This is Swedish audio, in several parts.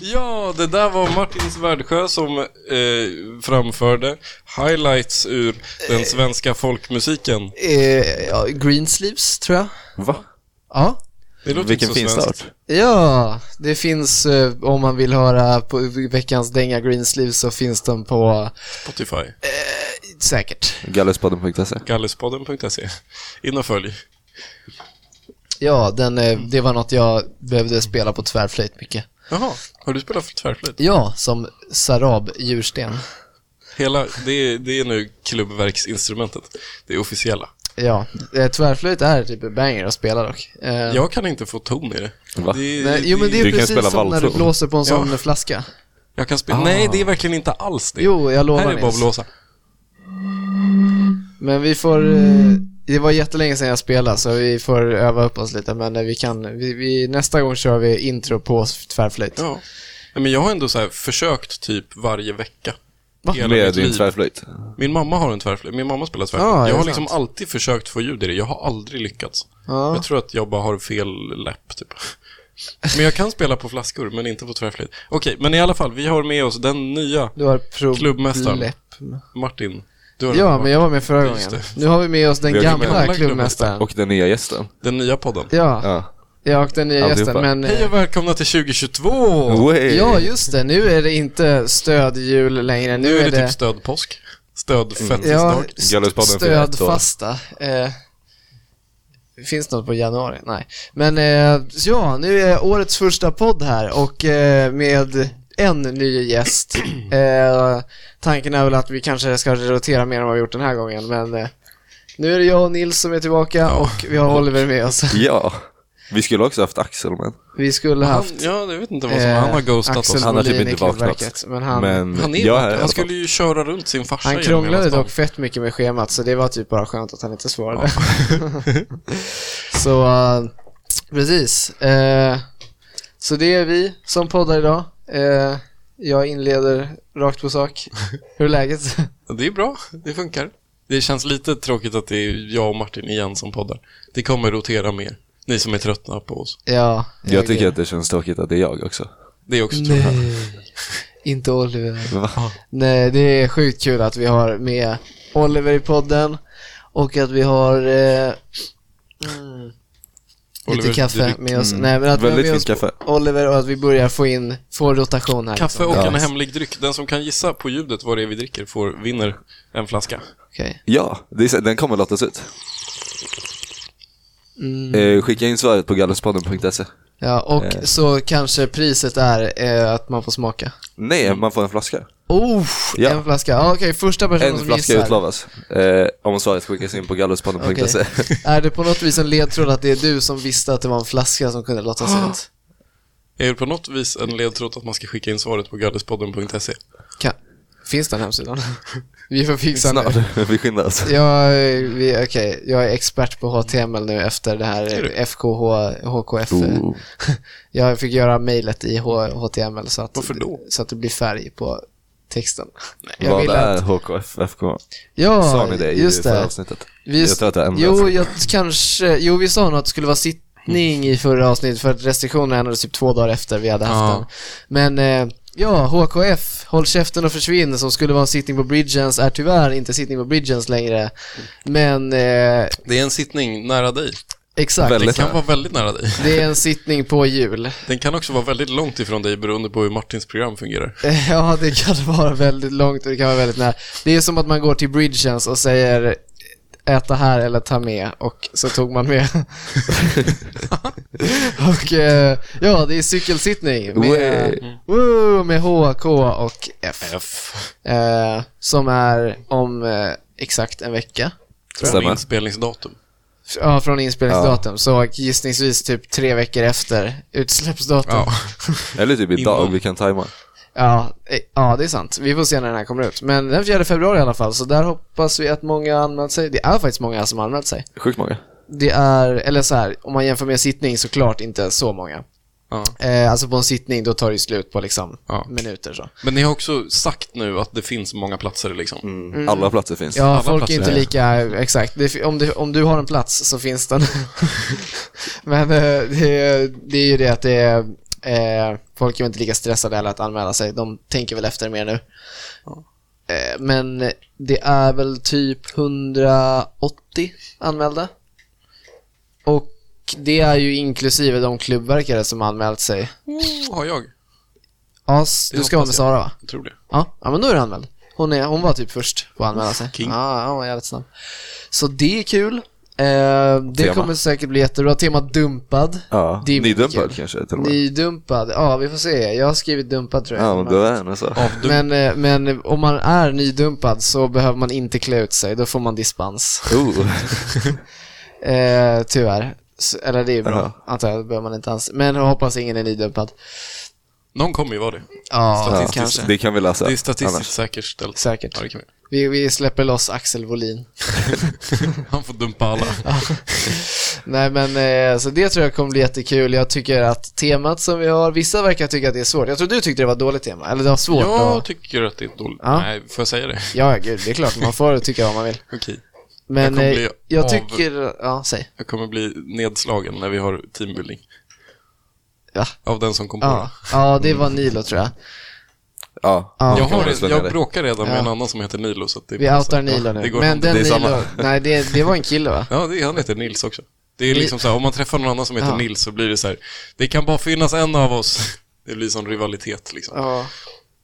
Ja, det där var Martin Svärdsjö som eh, framförde highlights ur den svenska folkmusiken. Eh, ja, Greensleeves, tror jag. Va? Ja. Det låter Vilken inte Mm. så fin svenskt. start. Ja, det finns, eh, om man vill höra på veckans dänga Greensleeves så finns den på, Spotify. säkert. Gallerspodden.se. Gallispodden.se. In och följ. Ja, den, eh, det var något jag behövde spela på tvärflöjt mycket. Jaha, har du spelat för tvärflöjt? Ja, som Sarab Djursten. Hela, det är, det är nu klubbverksinstrumentet. Det är officiella. Ja, eh, tvärflöjt är typ en banger att spela dock. Eh, Jag kan inte få ton i det. Va? det, Nej, jo men det är Du kan precis spela som när du valthorn. blåser på en sån Ja. flaska. Jag kan spela. Nej, det är verkligen inte alls det. Ah. Jo, jag lovar Här är bara att Nils. blåsa. Men vi får, eh, det var jättelänge sedan jag spelade så vi får öva upp oss lite men eh, vi kan, vi, vi, nästa gång kör vi intro på tvärflöjt. Ja. Nej, Men jag har ändå så här försökt typ varje vecka. Va? Hela Med mitt din liv. tvärflöjt. Min mamma har en tvärflöjt. Min mamma spelar tvärflöjt. Ja, är jag har det liksom alltid försökt få ljud i det. Jag har aldrig lyckats. Ja. Jag tror att jag bara har fel läpp, typ. Men jag kan spela på flaskor, men inte på tvärflöjt. Okej, men i alla fall, vi har med oss den nya Du har prov... Klubbmästaren. läpp- Martin. Du har Ja, den, men jag var med förra Just gången. det. Nu har vi med oss den Vi har gamla gamla klubbmästaren. Och den nya gästen. den nya podden. Ja, Ja. ja, och den nya gästen Alltihopa. men... eh, Hej och välkomna till 2022! Way. Ja, just det. Nu är det inte stödhjul längre. Nu, Nu är det typ stödpåsk. ja, Mm. Stödfettisdag. st- Galluspodden för ett år. stödfasta. Eh, finns det något på januari? Nej. Men eh, så ja, nu är årets första podd här och eh, med en ny gäst. Eh, tanken är väl att vi kanske ska rotera mer än vad vi gjort den här gången, men eh, nu är det jag och Nils som är tillbaka och vi har Oliver med oss. ja. Vi skulle också haft Axel men Vi skulle Han, haft ja, jag vet inte vad som... han har ghostat Eh, Axel oss. Han har typ Molin i inte vaknat. Klubbverket, Men han, Men Han, är, jag är här i han alla skulle fall. ju köra runt sin farsa han genom hela krånglade stan. dock fett mycket med schemat så det var typ bara skönt att han inte svarade. så, eh, precis. Eh, så det är vi som poddar idag. Eh, jag inleder rakt på sak. Hur är läget? Ja, Det är bra, det funkar. Det känns lite tråkigt att det är jag och Martin igen som poddar. Det kommer rotera mer. Ni som är tröttna på oss. ja. Jag tycker att det känns tråkigt att det är jag också. Det är också tråkigt. Nej, inte Oliver. Va? Nej, det är sjukt kul att vi har med Oliver i podden och att vi har eh, mm, Oliver, lite kaffe drick- med oss. Nej, men att Mm. Väldigt vi har med oss fint kaffe. Oliver och att vi börjar få in, få rotation här. Kaffe liksom. och en Ja. hemlig dryck. Den som kan gissa på ljudet vad det är vi dricker får, vinner en flaska. Okej. Ja, det är, så- den kommer lottas ut. Mm. Eh, skicka in svaret på gallerspodden.se. Ja, och Eh. så kanske priset är eh, att man får smaka. Nej, man får en flaska. Oh, Ja. en flaska. Ja, Okej, första personen En som flaska gissar. utlovas. Eh, om svaret skickas in på gallerspodden.se. Okej. är det på något vis en ledtråd att det är du som visste att det var en flaska som kunde lottas Ah. ut? Är det på något vis en ledtråd att man ska skicka in svaret på gardespodden.se? Kan... Finns den hemsidan? vi får fixa den. Snart. Vi skyndar oss. Jag, är- vi, okej, jag är expert på HTML nu efter det här FKH, HKF. Ooh. Jag fick göra mejlet i H- HTML så att, Varför då? så att det blir färg på texten. Jag Vad vill är att- HKFFK? Ja, Sa ni det i just förra det. avsnittet? Vi, Jag tror att det ändrats. jo, jag kanske, jo, vi sa nog att det skulle vara sittning i förra avsnittet för att restriktionerna ändrades typ två dagar efter vi hade haft Ja. den. Men eh, ja, HKF, Håll käften och försvinn, som skulle vara en sittning på Bridgens, är tyvärr inte sittning på Bridgens längre. Men eh, Det är en sittning nära dig. exakt. Den Väldigt kan nära. vara väldigt nära dig. Det är en sittning på jul. Den kan också vara väldigt långt ifrån dig beroende på hur Martins program fungerar. Eh, Ja, det kan vara väldigt långt och det kan vara väldigt nära. Det är som att man går till Bridgens och säger äta här eller ta med och så tog man med. och eh, ja, det är cykelsittning med, Woo, med HK och F. F. Eh, som är om eh, exakt en vecka. Stämmer. Inspelningsdatum. F- Ja, från inspelningsdatum. Så gissningsvis typ tre veckor efter utsläppsdatum. Ja. Eller typ idag, Innan. vi kan tajma. Ja, eh, ja, det är sant. Vi får se när den här kommer ut. Men den 4 februari i alla fall, så där hoppas vi att många har anmält sig. Det är faktiskt många som har anmält sig. Sjukt många. Det är, eller så här, om man jämför med sittning såklart inte så många. Ja. Eh, alltså på en sittning, då tar det ju slut på liksom Ja. minuter så. Men ni har också sagt nu att det finns många platser liksom. Alla platser finns. Mm. Ja, Alla folk är platser inte är- lika, exakt. Det, fi- om, du, om du har en plats så finns den. Men eh, det, är- det är ju det att det är, eh, Folk är väl inte lika stressade heller att anmäla sig. De tänker väl efter mer nu. Eh, Men det är väl typ 180 anmälda. Och det är ju inklusive de klubbverkare som har anmält sig. Har jag? Ja, s- Det du ska vara med hoppas jag. Sara va? Jag tror det. Ja, ja men då är du anmäld. Hon, är, hon var typ först på att anmäla sig. King. Ja, ja, hon var jävligt snabb. Så det är kul. Eh, det Tema. kommer säkert bli jättebra. Temat dumpad. Ja, Det är mycket nydumpad kul. kanske till och med. Nydumpad. Ja, vi får se. Jag har skrivit dumpad tror jag. Ja, men då är det så. Avdum. men, eh, men om man är nydumpad så behöver man inte klä ut sig. Då får man dispens. Oh. Eh, tyvärr. S- Eller det är bra, Jaha. antar jag. Det behöver man inte alls. Men jag hoppas ingen är nydumpad. Någon kommer ju vara det. Ja, Statistiskt. kanske. Det kan vi läsa. Det är statistiskt annars. säkerställt. Säkert. Ja, det kan vi. Vi, vi släpper loss Axel Wåhlin. Han får dumpa alla. Nej men eh, så det tror jag kommer bli jättekul. Jag tycker att temat som vi har, vissa verkar tycka att det är svårt. Jag tror du tyckte det var ett dåligt tema, eller det var svårt Jag att... tycker att det är dåligt. Ja. Nej, får jag säga det? Ja, gud, det är klart, man får tycka vad man vill. Okej. Jag Men kommer jag, bli jag av- tycker, ja, säg. Jag kommer bli nedslagen när vi har teambuilding. Ja. Av den som kom på Ja, det. ja det var Nilo tror jag. Ja, Ja. nu Jag, kan vi har, slänga jag det. bråkar redan med Ja. en annan som heter Nilo. Så att det är Vi bara outar så här, Nilo ja, nu. Det går Men hand i den hand. Det är samma. Nilo, nej det, det var en kille va? Ja, det, han heter Nils också. Det är liksom så här, om man träffar någon annan som heter Ja. Nils så blir det så här, det kan bara finnas en av oss. Det blir sån rivalitet liksom. Ja.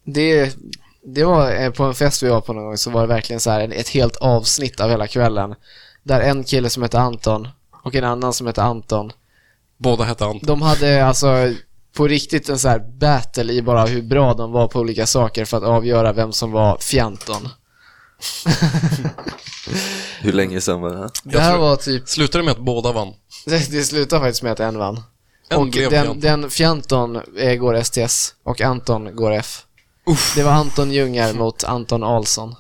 Det, det var eh, på en fest vi var på någon gång så var det verkligen så här en- ett helt avsnitt av hela kvällen. Där en kille som hette Anton och en annan som hette Anton Båda hette Anton. De hade alltså på riktigt en så här battle i bara hur bra de var på olika saker för att avgöra vem som var fjanton. Hur länge sedan var det här? Det här tror- var typ, Slutade med att båda vann. det, det slutade faktiskt med att en vann. En och blev den, fjanton. den fjanton eh, går STS och Anton går F. Det var Anton Ljungar Mm. mot Anton Ahlsson.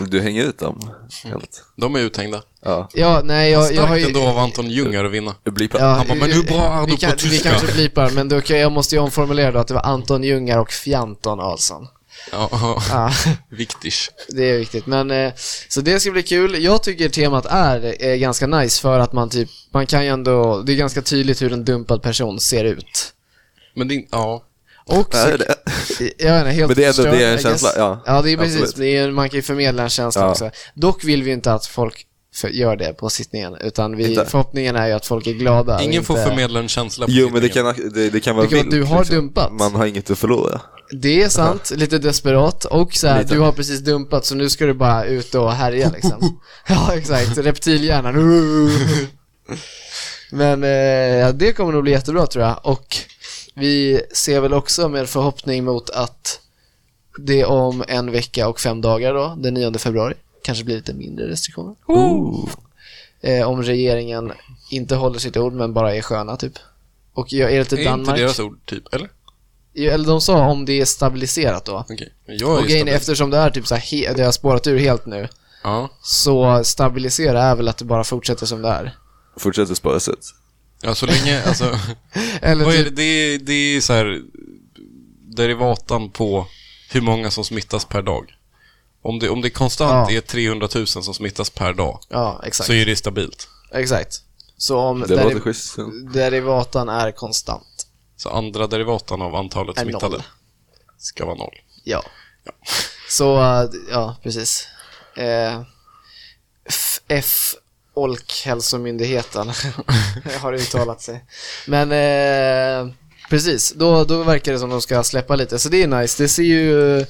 Du hänger ut dem helt. De är uthängda. Ja. Ja, nej jag, jag Starkt har ju... ändå av Anton Ljungar att vinna. Det blir Ja, Han bara, "Men hur bra är vi du på kan, Vi tyska?" kanske blipar, men då, kan- jag måste ju omformulera då att det var Anton Ljungar och Fjanton Ahlsson. Ja, ja. Ja. Viktigt. Det är viktigt, men eh, så det ska bli kul. Jag tycker temat är, är ganska nice för att man typ, man kan ju ändå, det är ganska tydligt hur en dumpad person ser ut. Men din, ja. Och så, Ja, det är det. jag vet inte, helt Men det är ändå- förstörd, det är en I känsla, guess. ja. Ja, det är precis, Absolut. det är, ju- man kan ju förmedla en känsla Ja. också. Dock vill vi ju inte att folk för, gör det på sittningen, utan vi, Inte. förhoppningen är ju att folk är glada. och Ingen får inte- förmedla en känsla på Jo, men det sittningen. kan, det, det kan vara Det kan vara att du vilt, liksom. har dumpat. Man har inget att förlora. Det är sant, lite desperat och så här, Lite. du har precis dumpat så nu ska du bara ut och härja liksom. ja, exakt. Reptilhjärnan. Men eh, ja, det kommer nog bli jättebra tror jag och vi ser väl också med förhoppning mot att det om en vecka och fem dagar då, den 9 februari, kanske blir lite mindre restriktioner. Eh, om regeringen inte håller sitt ord men bara är sköna typ. Och jag är lite Det är inte Danmark. deras ord, typ. Eller? Eller de sa om det är stabiliserat då. Okej. Men Jag är Och ju grejen är, stabil. eftersom det är typ så här, he- det har spårat ur helt nu, Ja. så stabilisera är väl att det bara fortsätter som det är. Fortsätter sparas ut. ja, så länge, alltså. Eller vad är det? typ, Det är, det är så här derivatan på hur många som smittas per dag. Om det, om det konstant Ja. är 300 000 som smittas per dag ja exakt. så är det stabilt. Exakt. Så om Det låter deriv- schysst. derivatan är konstant, Så andra derivatan av antalet Är smittade noll. ska vara noll. ja. Så, äh, ja precis. Eh, F- F Folkhälsomyndigheten har uttalat sig. Men eh, precis, då, då verkar det som de ska släppa lite, så det är nice. Det ser ju eh,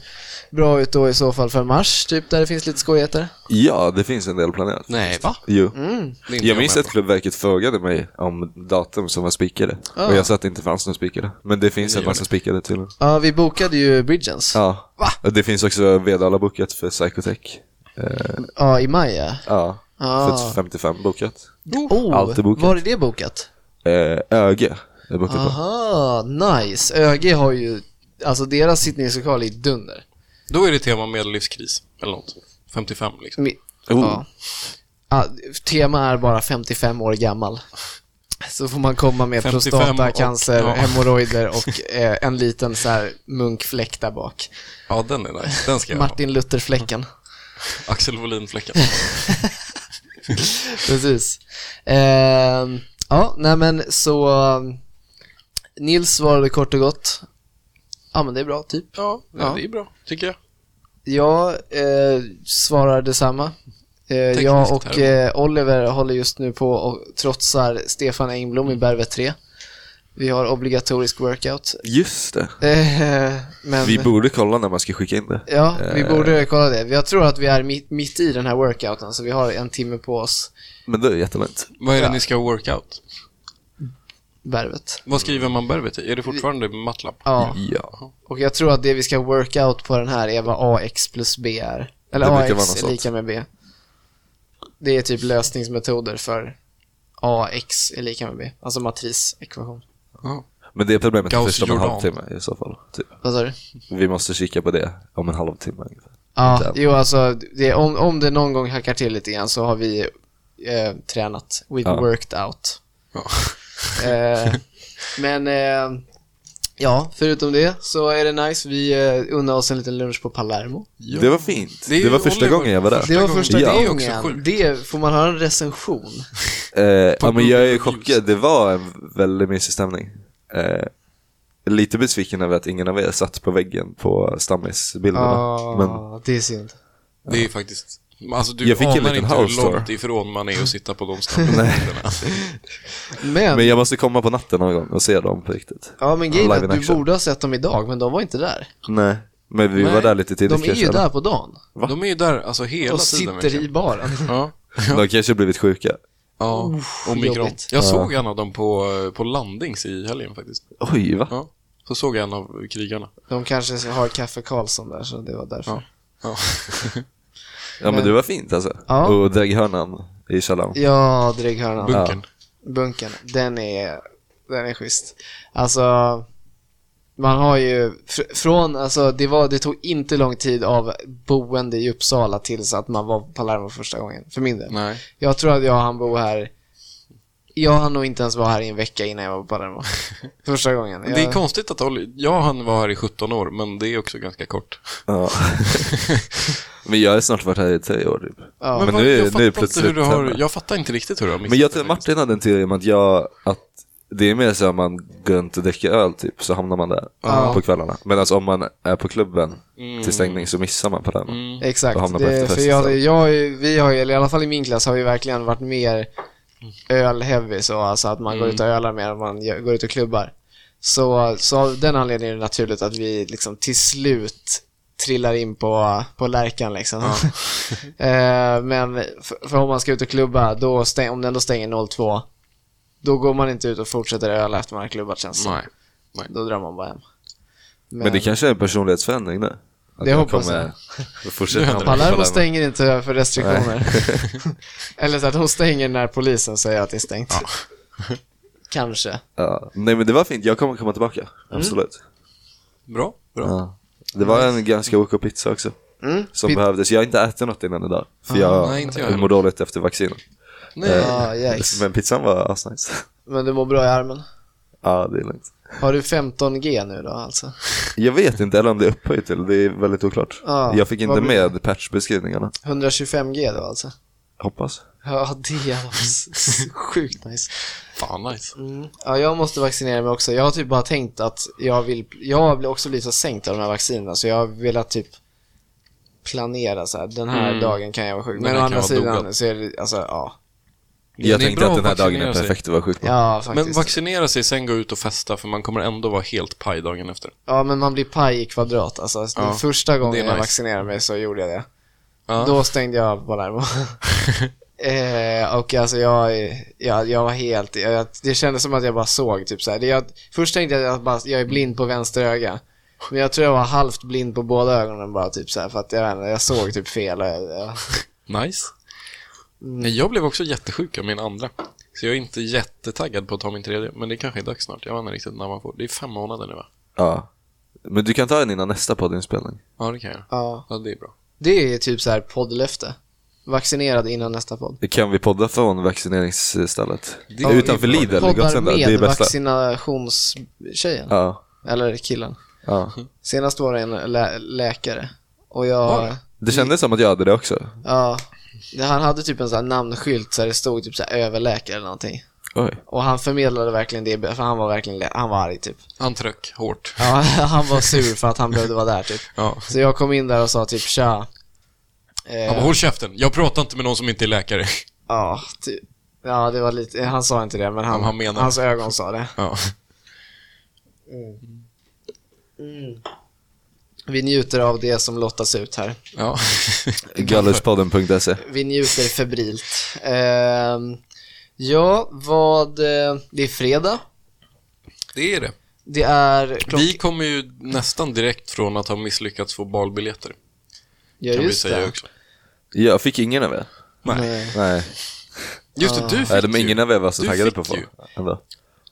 bra ut då i så fall för mars, typ där det finns lite skojigheter. Ja, det finns en del planerat. Nej, va? Jo. Mm. Det är inte Jag minns med att Klubbverket frågade mig om datum som var spikade. Ah. Och jag sa att det inte fanns några spikade. Men det finns Det en gör massa spikade tydligen. Ja, vi bokade ju Bridgens. Ja, Ja. Och det finns också Vedala bokat för Psychotech. Eh, i maj ja. ja. Ah. För 55 bokat. Oh, Allt är bokat. Var är det bokat? Eh, Öge är bokat på. Aha, nice. ÖG har ju, alltså deras sittningslokal är dunder. på. Då är det tema medellivskris, eller något. 55 liksom. Mi- Oh. Ja. Ah, tema är bara 55 år gammal. Så får man komma med 55 prostatacancer, och- ja. hemorrojder och eh, en liten så här munkfläck där bak. Ja, den är nice. Den ska jag Mm. Martin Luther-fläcken. ha. Axel Wåhlin-fläcken. Precis. Ehm, ja, nej men så... eh, Nils eh, svarade kort och gott Ja, men det är bra, typ. Ja, Ja. det är bra, tycker jag. Jag eh, svarar detsamma. Eh, jag och eh, Oliver håller just nu på och trotsar Stefan Engblom i Bervet 3. Vi har obligatorisk workout. Just det. Eh, men, Vi borde kolla när man ska skicka in det. ja, vi eh, borde kolla det. Jag tror att vi är mitt, mitt i den här workouten, så vi har en timme på oss, Men det är jättelent. Vad är det Ja. ni ska workout? Bervet. Vad skriver man Bervet i? Är det fortfarande Matlab? Mm. Ja, Ja. och jag tror att det vi ska workout på den här är vad AX plus B är. Eller Det brukar vara något AX är sånt. lika med B. Det är typ lösningsmetoder för AX är lika med B, alltså matrisekvation. Ja. Men det är problemet är Gauss först om en Jordan. halvtimme i så fall. Typ. Vad sa du? Vi måste kika på det om en halvtimme ungefär. Ja, Inte. jo alltså, det, om, om det någon gång hackar till lite grann så har vi eh, tränat. We've Ja. worked out. Ja. Eh, men eh, ja, förutom det så är det nice. Vi eh, unnar oss en liten lunch på Palermo. Ja. Det var fint. Det är Det, var ju första Oliver. gången jag var där. Första Det var gången. första Ja. Det är också gången. sjukt. Det får man höra en recension. Eh, På ja, men jag är Google Reviews. chockad. Det var en väldigt mysig stämning. Eh, lite besviken över att ingen av er satt på väggen på stammisbilderna. Ja, Men det är synd. Det är faktiskt... Alltså du Jag fick en anar liten inte hur house tour. långt ifrån man är att sitta på de ställena. Men, Men jag måste komma på natten någon gång och se dem på riktigt. ja men grejen är Live in att du action. borde ha sett dem idag, men de var inte där. Nej, men vi Nej, var där lite tidigt De är ju kanske. där på dagen Va? de är ju där alltså hela och tiden. sitter verkligen. i baren. Ja. De kanske blivit sjuka. Ja, omikron. jobbigt. Jag Ja. såg en av dem på, eh, på Landings i helgen faktiskt. Oj, va? Ja. Så såg jag en av krigarna. De kanske har Kaffe Karlsson där, så det var därför. Ja. Ja. Ja, men det var fint alltså. Ja. Och drägghörnan i källaren. Ja, Drägghörnan. Bunkern. Bunkern. Den är, den är schysst. Alltså, man har ju fr- från, alltså det, var, det tog inte lång tid av boende i Uppsala tills att man var på Palermo första gången, för min del. Nej. Jag tror att jag han bo här, jag hann nog inte ens vara här i en vecka innan jag var på Palermo. första gången. Men Det är Jag- konstigt att Olli, jag han var här i 17 år, men det är också ganska kort. Ja. men jag har snart varit här i tre år typ. Ja. Men vad- nu, jag, är- nu är fattar inte hur plötsligt du har, hemma. jag fattar inte riktigt hur du har missat Men jag det tror faktiskt. Martin hade en teori om att jag, att det är mer så att man går runt och dricker öl typ, så hamnar man där Ja. på kvällarna. Medan om man är på klubben Mm. till stängning så missar man på den. Och Exakt, hamna på det, för efterfest jag, istället. jag, vi har ju, eller i alla fall i min klass har vi verkligen varit mer Mm. öl-heavy så, alltså att man går ut och ölar mer än man gör- går ut och klubbar. Så, så av den anledningen är det naturligt att vi liksom till slut trillar in på, på lärkan liksom. Eh, Men för, för om man ska ut och klubba, då stäng, om den då stänger 02, då går man inte ut och fortsätter öla efter man har klubbat känns det som. Nej. Då drar man bara hem. Men, Men det kanske är en personlighetsförändring nu. Att Det jag hoppas kommer att fortsätta hamna på Palermo Palermo. stänger inte för restriktioner. Eller så att de stänger när polisen säger att det är stängt. Kanske. Ja. Nej men det var fint, jag kommer komma tillbaka. Mm. Absolut. Bra, bra. Ja. Det var en ganska OK pizza också. Mm. Som Pit- Ah. behövdes. Jag har inte ätit något innan idag. För jag, nej, inte jag heller. mår dåligt efter vaccinet. Nej. Ja, yikes. Men pizzan var asnice. Men du mår bra i armen. ja, det är lugnt. Har du 15G nu då alltså? Jag vet inte, eller om det är upphöjt till. Det är väldigt oklart. Ja, jag fick Ah, vad inte blir med patchbeskrivningarna. 125G då alltså? Hoppas. Ja, det var s- s- sjukt nice. Fan nice. Mm. Ja, jag måste vaccinera mig också. Jag har typ bara tänkt att jag vill... Jag har bl- också blivit så sänkt av de här vaccinerna, så jag har velat typ planera så här. Den här Mm. dagen kan jag vara sjuk. Den Men här å kan andra vara sidan dopad. så är det... Alltså, ja. Jag Det är tänkte bra att den här att dagen är vaccinera sig. perfekt att vara sjuk på. Ja, faktiskt. Men vaccinera sig, sen gå ut och festa, för man kommer ändå vara helt paj dagen efter. Ja, men man blir paj i kvadrat. Alltså, den Ja, första gången det är jag nice. vaccinerade mig så gjorde jag det. Ja. Då stängde jag Palermo. eh, och alltså jag, jag, jag var helt... Jag, det kändes som att jag bara såg. Typ, så här. Det, jag, först tänkte jag att jag, bara, jag är blind på vänster öga. Men jag tror jag var halvt blind på båda ögonen bara typ så här, för att jag, vet inte, jag såg typ fel. Och, jag- Nice. Mm. Nej, jag blev också jättesjuk av min andra. Så jag är inte jättetaggad på att ta min tredje, men det kanske är dags snart. Jag vet inte riktigt när man får. Det är fem månader nu va? Ja. Men du kan ta den innan nästa poddinspelning. Ja, det kan jag. ja. Ja, det är bra. Det är typ så här poddlöfte. Vaccinerad innan nästa podd. Kan vi podda från vaccineringsstället? Det Ja, är Utanför ju bra. Lidl, Poddar Gottsunda. Det är med bästa. vaccinationstjejen. Ja. Eller killen. ja. Senast var det en lä- läkare och jag, Det kändes som att jag hade det också. ja, det- han hade typ en sån här namnskylt så här det stod typ så här överläkare eller någonting. Oj. Och han förmedlade verkligen det, för han var verkligen lä- han var arg typ. Han tröck hårt. Ja, han var sur för att han behövde vara där typ. Ja. Så jag kom in där och sa typ tja. Han bara, Eh, håll käften, jag pratar inte med någon som inte är läkare. ja, ty- ja, det var lite, eh, han sa inte det men han, Men han menar. hans ögon sa det. Ja. Vi njuter av det som lottas ut här. ja. Galluspodden.se Vi njuter febrilt. Ehm, ja, vad... eh, Det är fredag. Det är det. Det är... Klock... Vi kommer ju nästan direkt från att ha misslyckats få balbiljetter. ja, Kan vi just säga det. också. Jag fick ingen av er. Nej. Nej. Nej, Just det, du fick Nej de, ingen ju. av er var så Du taggade fick på folk. ju. Ändå.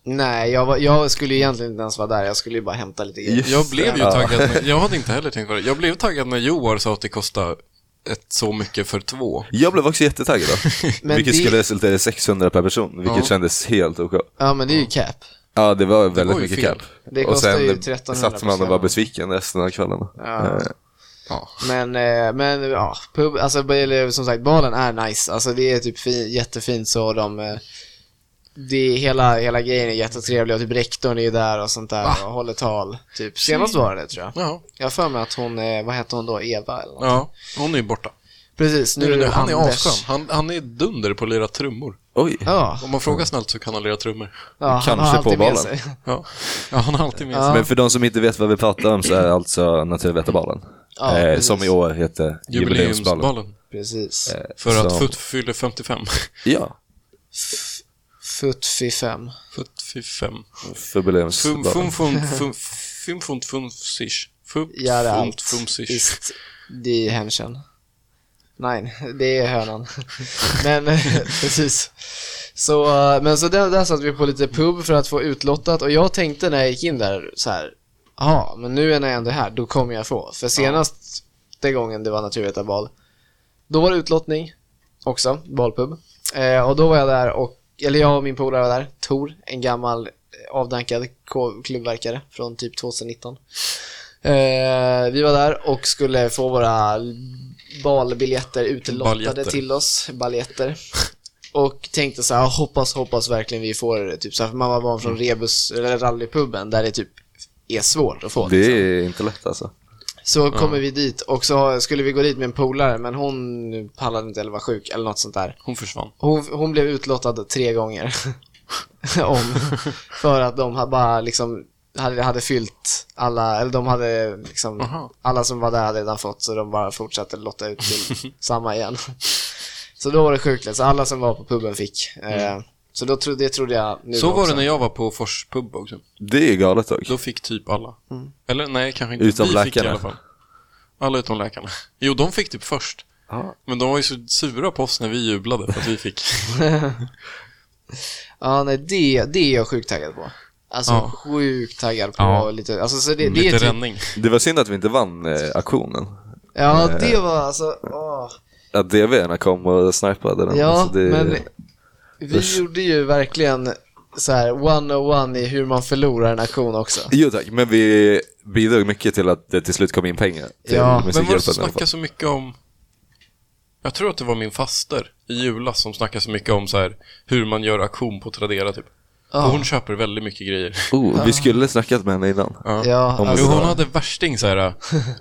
Nej, jag, var, jag skulle ju egentligen inte ens vara där. Jag skulle ju bara hämta lite grejer. Just Jag blev ju Ja. taggad, när, jag hade inte heller tänkt på det. Jag blev taggad när Joar sa att det kostade ett så mycket för två. Jag blev också jättetaggad då. Men vilket det- skulle resultera i 600 per person, vilket Ja. kändes helt ok. Ja, men det är ju cap. Ja, det var var väldigt ju mycket fel. cap. Det och kostar sen ju det- 1300 satt man och var procent. besviken resten av kvällen. Ja. Eh, Ja. Men, eh, men ja, pub, alltså, eller, som sagt, balen är nice. Alltså det är typ fin, jättefint så de... eh, Det är hela, hela grejen är jättetrevlig och typ rektorn är ju där och sånt där och håller tal. Typ senast var det det, tror jag. Ja. Jag har för mig att hon, eh, vad hette hon då, Eva eller något. ja. Hon är ju borta. Precis, nu Nu, är nu, det han är Anders. asskön. Han, han är dunder på att lira trummor. Oj. Ja, Om man Mm. frågar snällt så kan han lira trummor. ja han Kanske har alltid med på balen. sig. Ja, ja han har alltid med sig. Ja. Men för de som inte vet vad vi pratar om så är det alltså Naturvetarbalen. Ja, eh, precis. som i år heter Jubileumsbalen. Jubileumsballen. Precis. Eh. För att Som- FUT fyller 55. Ja, Futfi 5. 55. Fum, Jubileumsbalen. fum, fum, fum, fum, fum, fum, sish. Fum, Gör fum, allt. fum, sish. Ist die Händchen. Nej, det är hönan. men eh, precis. Så, eh, men så där, där satt vi på lite pub för att få utlottat och jag tänkte när jag gick in där så här, ja, men nu är när jag ändå är här, då kommer jag få. För senast den gången det var naturvetarbal, då var det utlottning också, balpub. Eh, och då var jag där och, eller jag och min polare var där, Tor, en gammal eh, avdankad ko- klubbverkare från typ 2019. Eh, vi var där och skulle få våra balbiljetter utlottade Baljetter. till oss, baljetter. Och tänkte så här, hoppas, hoppas verkligen vi får det, typ så här, för man var van från rebus, eller rallypuben där det typ är svårt att få. liksom. Det är inte lätt alltså. Så kommer vi dit och så har- skulle vi gå dit med en polare men hon pallade inte eller var sjuk eller något sånt där. Hon försvann. Hon, hon blev utlottad tre gånger om för att de ha- bara liksom hade, hade fyllt alla, eller de hade liksom, Aha. alla som var där hade redan fått så de bara fortsatte lotta ut till samma igen. Så då var det sjukt lätt. så alla som var på puben fick. Eh, Så då tro, det trodde jag nu Mm. Så var också. det när jag var på Fors pub också. Det är galet dock. Då fick typ alla. Mm. Eller nej, kanske inte. Utom Vi Fick i läkarna. alla fall. Alla utom läkarna. Jo, de fick typ först. Ja. Men de var ju så sura på oss när vi jublade för att vi fick. Ja, nej, det, det är jag sjukt taggad på. Alltså Ja. sjukt taggad på Ja. Mm, lite, alltså så det, det är Lite typ, ränning. Det var synd att vi inte vann eh, auktionen. Ja, Eh, det var alltså, åh. Att DV'erna kom och snipade den. Ja, alltså, det... men vi Usch. gjorde ju verkligen så här 101 i hur man förlorar en auktion också. Jo tack, men vi bidrog mycket till att det till slut kom in pengar. Till Ja. Vem var det Musikhjälpen som i alla fall. snackade så mycket om... Jag tror att det var min faster i julas som snackade så mycket om så här, hur man gör auktion på Tradera typ. Ja. Och hon köper väldigt mycket grejer. Oh, vi Ah. skulle snackat med henne innan. Ja, Om- Jo, alltså, hon hade värsting så här äh,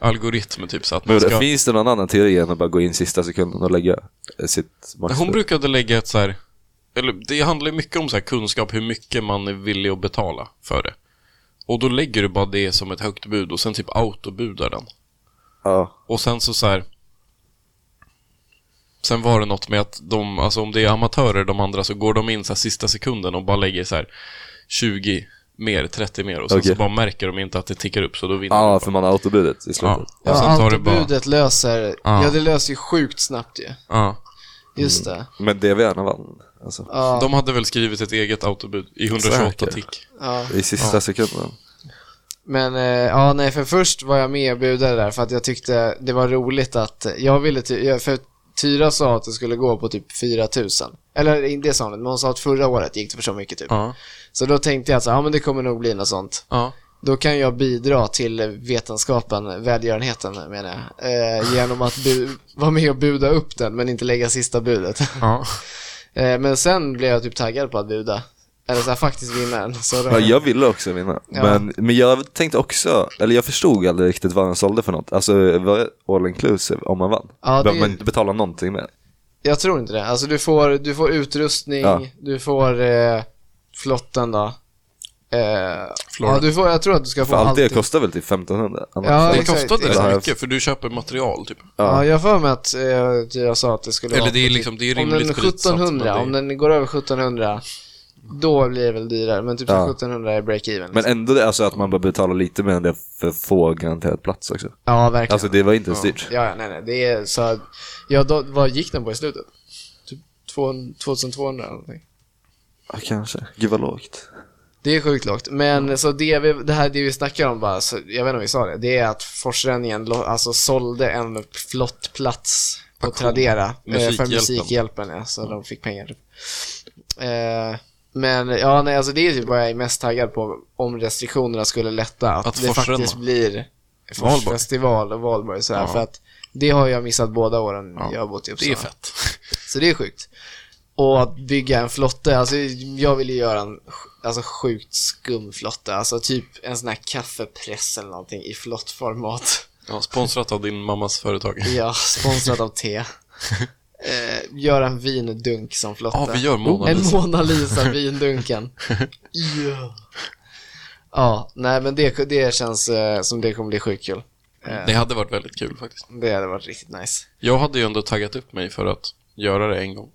algoritm typ så att Men man ska... Finns det någon annan teori än att bara gå in sista sekunden och lägga eh, sitt max? Hon brukade lägga ett så här... Eller det handlar ju mycket om så här kunskap, hur mycket man är villig att betala för det. Och då lägger du bara det som ett högt bud och sen typ autobudar den. Ja. Och sen så så här. Sen var det något med att de, alltså om det är amatörer de andra så går de in så här sista sekunden och bara lägger så här 20 mer, 30 mer och sen Okej. så bara märker de inte att det tickar upp så då vinner ja, de. för man har autobudet i slutet. Ja. ja, Och sen tar det bara... autobudet löser, Ja. ja det löser ju sjukt snabbt ju. Ja. Just det. Men DV'erna vann. Alltså, Ja, De hade väl skrivit ett eget autobud i 128 Säker. tick. ja. I sista sekunden. Men eh, ja, nej, för först var jag med och budade där för att jag tyckte det var roligt att jag ville, ty- jag- för Tyra sa att det skulle gå på typ 4000. Eller det sa hon inte, men hon sa att förra året gick det för så mycket typ. Ja. Så då tänkte jag att så, ja men det kommer nog bli något sånt. Ja. Då kan jag bidra till vetenskapen, välgörenheten menar jag, eh, genom att bu- vara med och buda upp den men inte lägga sista budet. Ja. Eh, men sen blev jag typ taggad på att buda. Eller så här, faktiskt vinnaren. Så Ja, då, jag ville också vinna. Ja. Men, men jag tänkte också, eller jag förstod aldrig riktigt vad han sålde för något. Alltså, var det all inclusive om man vann? Ja, det- Behöver man inte betala någonting mer? jag tror inte det. Alltså du får, du får utrustning, Ja. du får eh, flotten då. Eh, Flora. ja, du får, jag tror att du ska få För allt allt. det kostar väl typ 1500? annars? Ja, det exakt. kostade rätt Ja. mycket för du köper material typ. Ja, jag har för mig att eh, jag sa att det skulle Eller vara det är på liksom- typ- det är om rimligt den skitsatt, men 1700, det är- om den går över 1700, då blir det väl dyrare. Men typ så Ja. 1700 är liksom. break-even. Men ändå det, alltså att man bara betalar lite mer än det för få garanterat plats också. ja, verkligen. Alltså det var inte styrt. Ja, ja, nej, nej. Det är så att, ja, då, vad gick den på i slutet? Typ 200 2200 eller någonting. Ja, kanske. Gud vad lågt. Det är sjukt lågt. Men så det, vi, det här det vi snackar om bara, så, jag vet inte om vi sa det, det är att Forsränningen lo- alltså sålde en flottplats på Auktion. Tradera eh, Musikhjälpen. för Musikhjälpen, ja, så de fick pengar. Typ. Eh, men ja, nej, alltså det är typ vad jag är mest taggad på om restriktionerna skulle lätta. Att, Att det Forsränna. faktiskt blir Valborg. Forsfestival och Valborg så här, Ja. för att det har jag missat båda åren Ja. jag har bott i Uppsala. Det är fett. Så det är sjukt. Och att bygga en flotte, alltså jag vill ju göra en sj- alltså, sjukt skum flotte, alltså typ en sån här kaffepress eller någonting i flottformat. Ja, sponsrat av din mammas företag. Ja, sponsrat av te. Eh, göra en vindunk som flotte. Ja, vi gör Mona En Lisa. Mona Lisa vindunken. Ja. Ja, nej men det, det känns eh, som det kommer bli sjukt kul. Eh, Det hade varit väldigt kul faktiskt. det hade varit riktigt nice. Jag hade ju ändå taggat upp mig för att göra det en gång.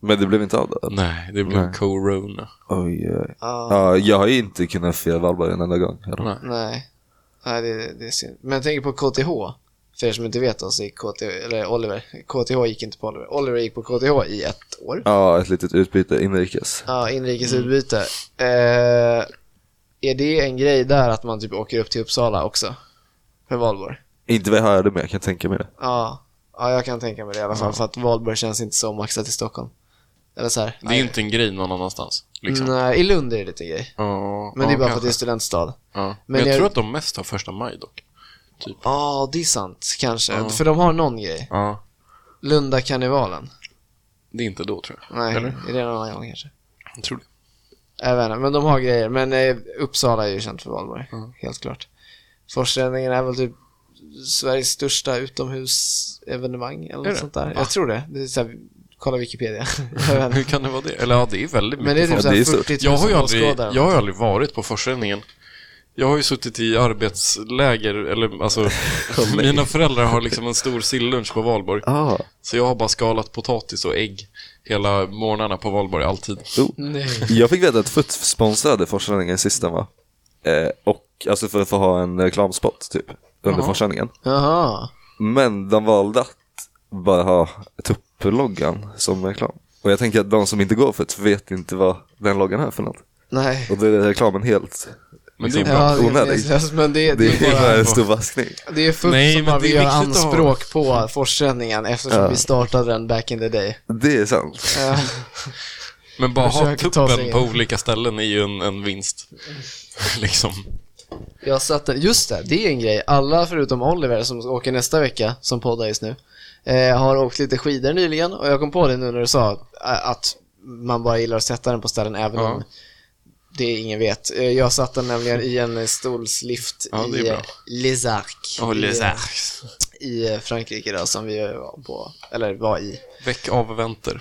Men det blev inte av det? Nej, det blev Nej. corona. Oj, oj. Ja. Ja, jag har ju inte kunnat fira Valborg en enda gång. eller? Nej. Nej, Nej det, det är synd. Men jag tänker på KTH. För er som inte vet alltså, då så gick KTH, eller Oliver, KTH gick inte på Oliver. Oliver gick på KTH i ett år. Ja, ett litet utbyte inrikes. Ja, inrikesutbyte. Eh, är det en grej där att man typ åker upp till Uppsala också? För Valborg? Inte vad jag hörde, men jag kan tänka mig det. Ja, ja jag kan tänka mig det i alla fall. För att Valborg känns inte så maxat i Stockholm. Eller så här. Det är inte en grej någon annannanstans. Liksom. Nej, i Lund är det lite grej. Ja, Men det ja, är bara för att kanske. det är studentstad. Ja. Men, Men jag, jag- tror att de mest har första maj dock. Ja, det är sant kanske. Ja. För de har någon grej. Ja. Lundakarnevalen. Det är inte då tror jag. Nej, Eller? är det en annan gång kanske? Jag tror det. Jag vet inte, men de har grejer. Men eh, Uppsala är ju känt för Valborg, Mm. helt klart. Forsränningen är väl typ Sveriges största utomhusevenemang eller Är något det? sånt där. Va? Jag tror det. det är så här, kolla Wikipedia. jag vet inte. Hur kan det vara det? Eller ja, det är väldigt mycket Men det är folk. typ Ja, så här det är 40 Jag har ju aldrig, 000 stort. åskådare. jag har ju aldrig varit på försänningen. Jag har ju suttit i arbetsläger, eller alltså, mina föräldrar har liksom en stor sillunch på valborg. Ah, Så jag har bara skalat potatis och ägg hela morgnarna på valborg, alltid. oh. Mm. Nej. Jag fick veta att FUT sponsrade Forsränningen sist den var. Eh, och, alltså för att få ha en reklamspot typ, under Jaha. Forsränningen. Jaha. Men de valde att bara ha tupploggan som reklam. Och jag tänker att de som inte går FUT vet inte vad den loggan är för något. Nej. Och då är reklamen helt liksom Men det är bra. Ja, det är onödig. meningslöst, men det, Det är bara bara... en stor vaskning. Det är fullt Nej, som men bara det är vi gör viktigt att ha- anspråk på forsränningen eftersom Ja. vi startade den back in the day. Det är sant. Ja. Men bara ha Försöker ta sig tuppen in. på olika ställen är ju en, en vinst. liksom. Jag satt en, just det, det är en grej. Alla förutom Oliver som åker nästa vecka, som poddar just nu, eh, har åkt lite skidor nyligen och jag kom på det nu när du sa ä- att man bara gillar att sätta den på ställen även Ja. om det ingen vet. Eh, jag satt den nämligen i en stolslift Ja, det är i bra. Les Arcs i, eh, i eh, Frankrike då, som vi var på, eller var i. Väck avvänter.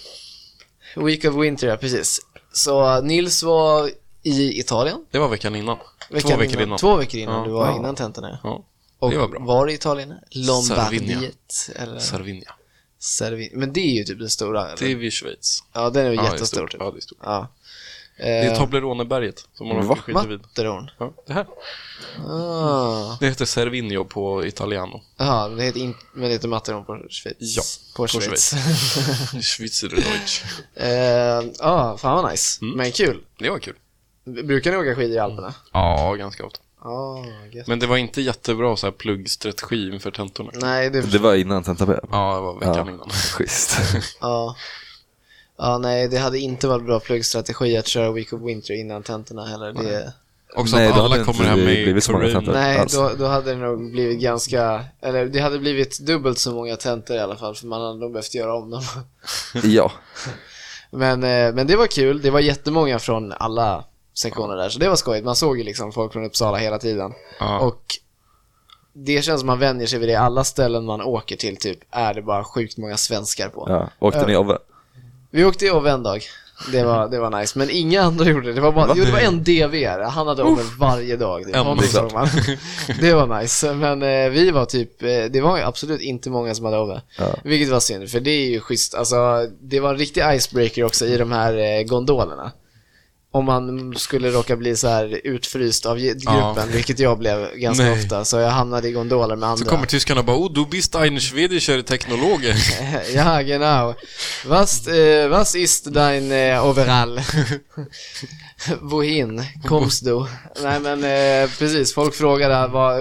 Week of Winter, ja precis. Så Nils var i Italien. Det var veckan innan. veckan Två veckor innan. Två veckor innan Ja. du var Ja. innan tentorna. ja. Ja, Och Det var bra. var i Italien? Lombardiet? Eller Sarvinia. Cervi- Men det är ju typ den stora. Eller? Det är vid Schweiz. Ja, den är ju Ja, det är jättestor stort. typ. Ja, det är stort. Ja. Det Eh. är Tobleroneberget som man Va? åker skidor vid. Matteron. Ja, det här. Ah. Det heter Cervinio på italiano. Jaha, men det heter, in- men det heter Matteron på Schweiz. Ja, på på Schweiz. Schweizerdeutsch. Eh, Ja, fan vad nice. Mm. Men kul. Det var kul. Brukar ni åka skidor i Alperna? Ja, ganska ofta. Ja, gött. Men det var inte jättebra så här pluggstrategi inför tentorna. Nej, det... Det var innan tentan började. Ja, det var veckan innan. Schysst. Ja. Ja, nej, det hade inte varit bra pluggstrategi att köra Week of Winter innan tentorna heller. Det... Också Nej, att då hade alla inte kommer hem det med blivit så många corona. tentor. Nej, alls. då, då hade det nog blivit ganska, eller det hade blivit dubbelt så många tentor i alla fall, för man hade nog behövt göra om dem. ja. Men, eh, men det var kul. Det var jättemånga från alla sektioner där, så det var skojigt. Man såg ju liksom folk från Uppsala hela tiden. Ja. Och det känns som man vänjer sig vid det. Alla ställen man åker till typ är det bara sjukt många svenskar på. Ja. Åkte ni av? Vi åkte i Ove en dag. Det var, det var nice, men inga andra gjorde det. Det var, bara, Va? jo, det var en DVR, han hade Ove varje dag. Det, Ja, honom men såg man. det var nice, men eh, vi var typ, eh, det var ju absolut inte många som hade Ove. Ja. Vilket var synd, för det är ju schysst. Alltså, det var en riktig icebreaker också i de här eh, gondolerna. Om man skulle råka bli så här utfryst av ge- gruppen, Ja. vilket jag blev ganska Nej. ofta, så jag hamnade i gondoler med andra. Så kommer tyskarna och bara oh, du bist ein schwedischer Technologe. Ja, genau. Was, äh, was ist dein äh, Overall? Wohin kommst du? Nej men eh, precis, folk frågade vad,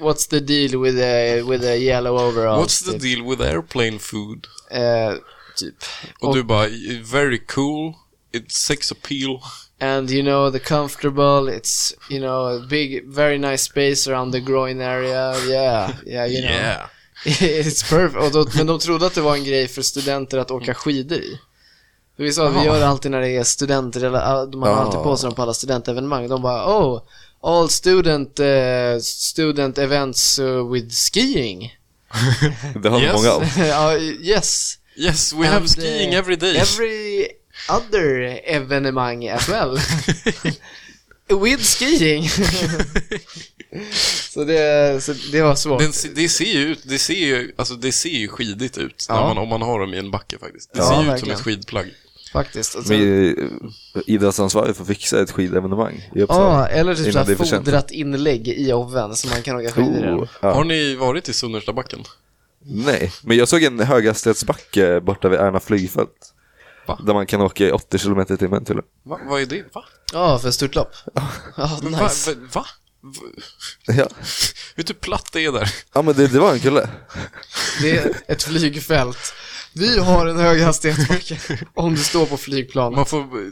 what's the deal with the, with the yellow overall? What's the deal with airplane food? deal? typ. Och, Och- du bara very cool, it's sex appeal. And you know the comfortable, it's you know a big, very nice space around the groin area. Yeah, yeah you know. Yeah. It's perfect. Och då, men de trodde att det var en grej för studenter att åka skidor i. Så vi sa att vi gör det alltid när det är studenter, eller äh, man har Ja. alltid på sig dem på alla studentevenemang. De bara oh, all student, eh, student events eh, with skiing. Det har Yes. yes. många av. Ja, yes. Yes, we And, have skiing eh, every day. Every other evenemang as well. with skiing. så, det, så det var svårt. Den, se- det ser ju ut, det ser ju, alltså det ser ju skidigt ut när Ja. man, om man har dem i en backe faktiskt. Det Ja, ser ju ut som verkligen. ett skidplagg. Faktiskt. Och sen- Med idrottsansvarig får fixa ett skidevenemang i Uppsala. Ja, eller typ innan såhär det är för sent. fodrat inlägg i oven så man kan åka skidor i den. Oh, ja. Har ni varit i Sunnerstabacken? Nej, men jag såg en höghastighetsbacke borta vid Ärna flygfält. Va? Där man kan åka i 80 km i timmen till Va? Vad är det? Va? Ja, för störtlopp. Ja, Va? nice. Va? Va? V- ja. Vet du hur typ platt det är där? ja, men det, det var en kille. Det är ett flygfält. Vi har en hög hastighetsbacke om du står på flygplan. Man får eh,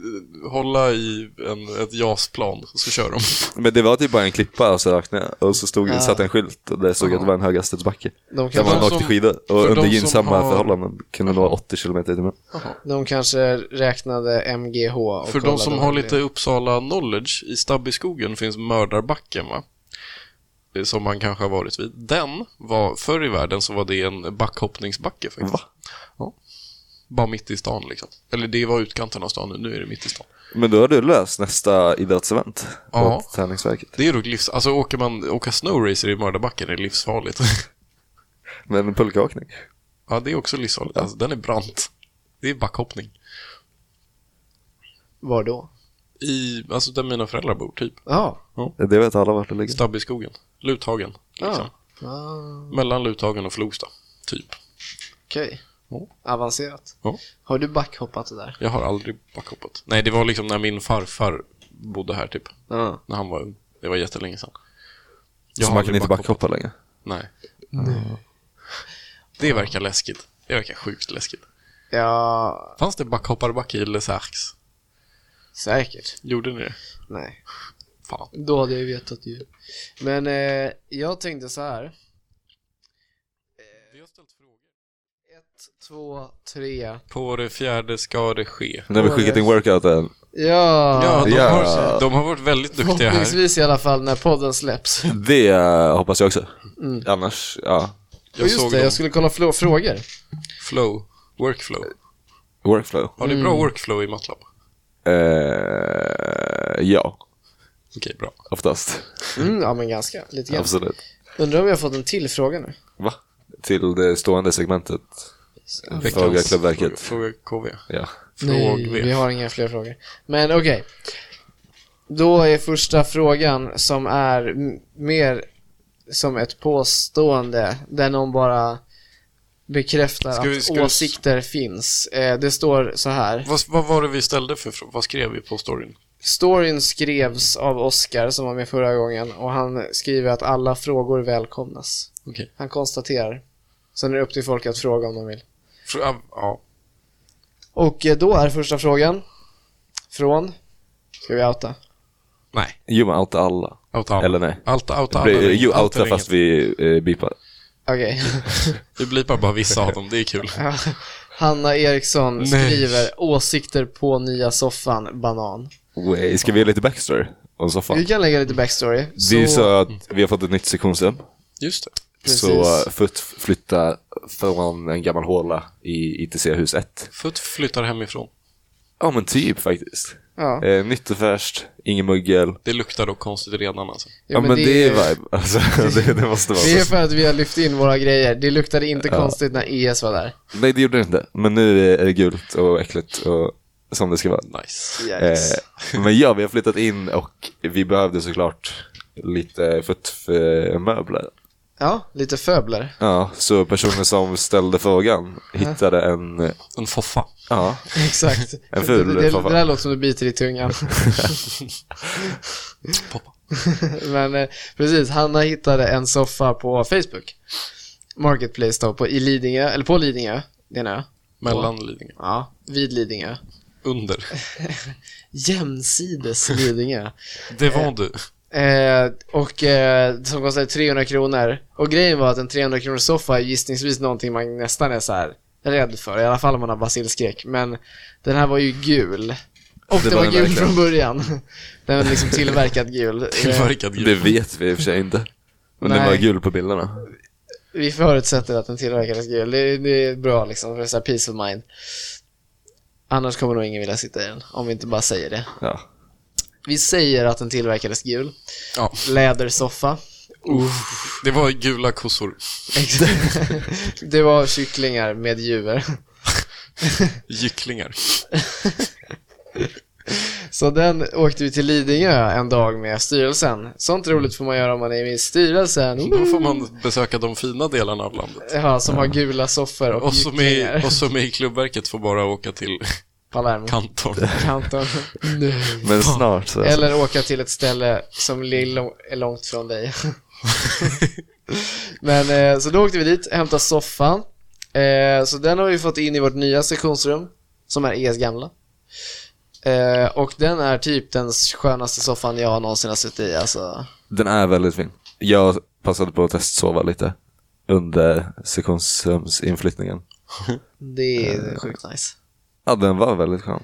hålla i en, ett JAS-plan och så kör de. Men det var typ bara en klippa och så rakt ner. Och så stod, Ja. satt en skylt och där såg jag att det var en höghastighetsbacke. De, Där För de man kanske, åkte som- skidor. för Och de under som gynnsamma har- förhållanden kunde nå 80 km i timmen. de kanske räknade MGH och För de kollade som om har det- lite Uppsala knowledge, i Stabbyskogen finns Mördarbacken va? Eh, Som man kanske har varit vid. Den var, förr i världen så var det en backhoppningsbacke faktiskt. Va? Ja. Bara mitt i stan liksom. Eller det var utkanten av stan nu, nu är det mitt i stan. Men då har du löst nästa idrottsevent Ja. på träningsverket. Det är dock livs... Alltså åker man, åka snowracer i Mördarbacken är livsfarligt. Men pulkaåkning. ja, det är också livsfarligt. Alltså den är brant. Det är backhoppning. Var då? I, alltså där mina föräldrar bor typ. Ja. ah, Det vet alla vart det ligger. Stabbyskogen. Luthagen. Liksom. Ja. Ah, Mellan Luthagen och Flogsta. Typ. Okej. Ja. Avancerat. Ja. Har du backhoppat det där? Jag har aldrig backhoppat. Nej, det var liksom när min farfar bodde här typ. Ja. När han var ung. Det var jättelänge sedan. Så har man aldrig kan inte backhoppa längre. Nej. Det verkar läskigt. Det verkar sjukt läskigt. Ja, Fanns det backhopparbacke i Les Arcs? säkert. Gjorde ni det? Nej. Fan. Då hade jag vetat ju. Men eh, jag tänkte så här. Eh, Vi har ställt frågor. Ett, två, tre. På det fjärde ska det ske. Nu har vi skickat in workouten. Ah, Ja! Ja, de, ja. Har, de har varit väldigt duktiga här. Förhoppningsvis i alla fall när podden släpps. Och Det eh, hoppas jag också. Mm. Annars, ja. Jag just såg det, dem. jag skulle kolla fl- frågor. Flow. Workflow. Workflow. Har ni bra workflow i Matlab? Eh, ja, Okej, bra. oftast. Mm, ja, men ganska. Lite grann. Absolut. Undrar om jag har fått en till fråga nu. Va? Till det stående segmentet. Fråga Veckans Klubbverket. Fråga, fråga KV. Ja. Nej, Fråg vi V. har inga fler frågor. Men okej. Då är första frågan som är m- mer som ett påstående där någon bara bekräftar Ska vi- att ska vi- åsikter finns. Eh, det står så här. Vad, vad var det vi ställde för frå- Vad skrev vi på storyn? Storyn skrevs av Oscar som var med förra gången och han skriver att alla frågor välkomnas. Okej. Han konstaterar. Sen är det upp till folk att fråga om de vill. Frå- ja, Ja. Och eh, då är första frågan från, ska vi outa? Nej. Jo, men outa alla. Outa alla. Eller nej. Outa, outa Det alla. blir, ringer. jo, Outa outa ringer. fast vi eh, beepar. Okej. Vi blipar bara vissa av dem, det är kul. Ja. Hanna Eriksson Nej. skriver åsikter på nya soffan, banan. Way. Ska vi ge lite backstory om soffan? Vi kan lägga lite backstory. Det är ju så att vi har fått ett nytt sektionsrum. Just det. Precis. Så eh, Futt flyttar från en gammal håla i ITC-hus 1. Futt flyttar hemifrån. Ja men typ faktiskt. Ja. Eh, nytt och fräscht, ingen muggel. Det luktar dock konstigt redan alltså. Jo, ja men det, är vibe. Alltså, det, det måste vara Det är så. för att vi har lyft in våra grejer. Det luktade inte konstigt när ES var där. Nej det gjorde det inte. Men nu är det gult och äckligt och som det ska vara. Nice. Eh, men ja, vi har flyttat in och vi behövde såklart lite futtmöbler. Ja, lite föbler. Ja, så personen som ställde frågan hittade en, eh, En foffa. ja, Exakt. En ful det, det, foffa. det där låter som du biter i tungan. Poppa. Men eh, precis, Hanna hittade en soffa på Facebook. Marketplace då, på, i Lidingö, eller på Lidingö, det är en ö. Mellan Lidingö. Ja, vid Lidingö. Under. Jämsides Lidingö. Det var du. Eh, och eh, som kostade 300 kronor. Och grejen var att en 300 kronors soffa är gissningsvis någonting man nästan är så här rädd för, i alla fall om man har basilskräck. Men den här var ju gul. Och Det det, var, var den gul verkligen. från början. Den var liksom tillverkad gul. Eh, Tillverkad det grej. vet vi i och för sig inte. Men den Nej. var gul på bilderna. Vi förutsätter att den tillverkades gul. Det, det är bra liksom, för det är så här peace of mind. Annars kommer nog ingen vilja sitta i den, om vi inte bara säger det. Ja. Vi säger att den tillverkades gul. Ja. Lädersoffa. Det var gula kossor. Exakt. Det var kycklingar med djur. Gycklingar. Så den åkte vi till Lidingö en dag med styrelsen. Sånt roligt får man göra om man är med i styrelsen. Då får man besöka de fina delarna av landet. Ja, som har gula soffor och, Och som, i, gycklingar. och som i klubbverket får bara åka till Palermo. Kantorn. Kanton. Nej. Men snart så. Eller åka till ett ställe som li- lång- är långt från dig. Men eh, så då åkte vi dit, hämtade soffan. Eh, så den har vi fått in i vårt nya sektionsrum, som är ES gamla. Eh, och den är typ den skönaste soffan jag någonsin har suttit i. Alltså. Den är väldigt fin. Jag passade på att testsova lite under sektionsrumsinflyttningen. Det är Eh. sjukt nice. Ja, den var väldigt skön.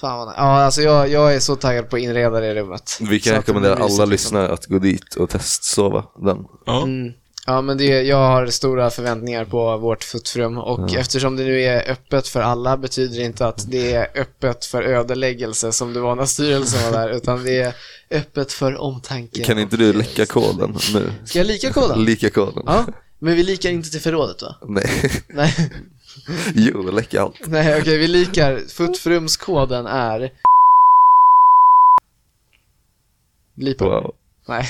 Fan vad nice. Ja, alltså jag, jag är så taggad på att inreda det rummet. Vi Så kan att rekommendera det blir alla mysigt, liksom. lyssnare att gå dit och testsova den. Ja. Mm. Ja, men det, jag har stora förväntningar på vårt futtrum och Mm. eftersom det nu är öppet för alla betyder det inte att det är öppet för ödeläggelse som det var när styrelsen var där, utan det är öppet för omtanke. Kan inte du läcka koden nu? Ska jag lika koden? Lika koden. ja, men vi likar inte till förrådet va? Nej. Nej, Jo, läcka allt. nej okej, vi likar. Futtrumskoden är... Blipa. Wow. Nej.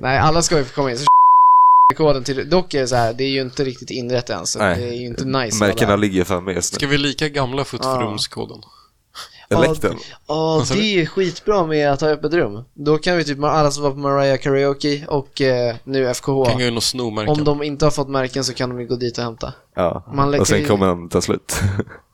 Nej, alla ska ju få komma in. Så koden till, dock är det så här, det är ju inte riktigt inrätt än, så Nej. det är ju inte nice. att vara Märkena där. ligger framme just nu. Ska vi lika gamla futtfrumskoden? Ja, Läck den. Ja, Vad sa det är skitbra med att ha öppet rum. Då kan vi typ, alla som var på Mariah Karaoke och eh, nu FKH, Kan gå in och sno om märken. de inte har fått märken så kan de ju gå dit och hämta. Ja. man läcker och sen i- kommer den ta slut.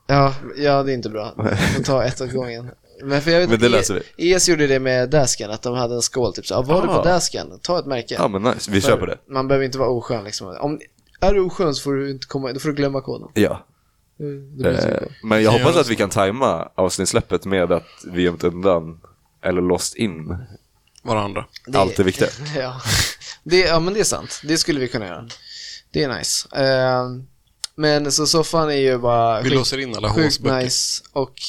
Ja, ja det är inte bra. Man tar ett åt gången. Men, för jag vet, Men det att löser ES gjorde det med Dasken, att de hade en skål typ så. Ja, var du Ah. på Dasken? Ta ett märke. Ja, men nice. Vi kör på det. Man behöver inte vara oskön liksom. Om, är du oskön så får du inte komma, då får du glömma koden. Ja. Det blir så. Eh, Men jag Kan hoppas göra att vi kan tajma avsnittsläppet med att vi gömt undan eller låst in Varandra. allt det viktiga. ja. Det, ja, men det är sant. Det skulle vi kunna göra. Det är nice. Ehm, men så soffan är ju bara Vi sjukt- låser in alla sjukt håsböcker. nice och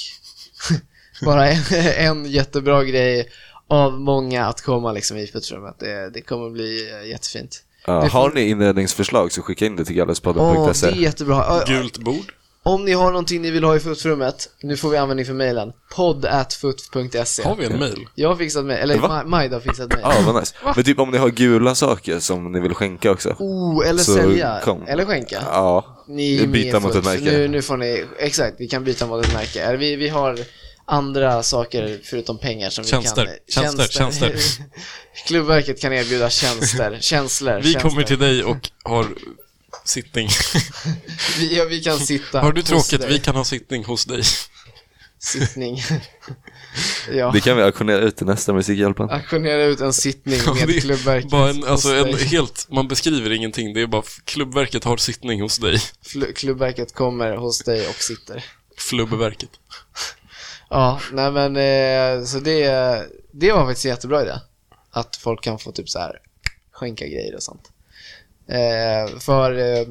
bara en, en jättebra grej av många att komma liksom i putrummet. Det, det kommer bli eh, jättefint. Ja, Det får- har ni inredningsförslag så skicka in det till Åh, det är gallerspodden.se. jättebra. Ja, ja. Gult bord. Om ni har någonting ni vill ha i fotrummet, nu får vi användning för mejlen. podd Har vi en mail? E. Jag har fixat mejl, eller Va? Ma- Majda har fixat mejl. Ja, vad nice. Men typ om ni har gula saker som ni vill skänka också. Oh, eller Så sälja, kom. eller skänka. Ja, Ni är Vi med byter mot fullt. ett märke. Nu, nu får ni, exakt, vi kan byta mot ett märke. Eller Vi, vi har andra saker förutom pengar som Tjänster, vi kan... tjänster, tjänster. Klubbverket kan erbjuda tjänster, känslor, Vi tjänster. kommer till dig och har sittning. Vi, ja, vi kan sitta Har du hos tråkigt? dig. Vi kan ha sittning hos dig. sittning. ja, Det kan vi auktionera ut till nästa Musikhjälpen. auktionera ut en sittning Ja, det med är klubbverket. Bara en, alltså hos en dig. helt, man beskriver ingenting, det är bara f- klubbverket har sittning hos dig. Fl- klubbverket kommer hos dig och sitter. Flubbverket. Ja, nej men eh, så det, det var faktiskt en jättebra idé. Att folk kan få typ så här skänka grejer och sånt. Eh, för eh,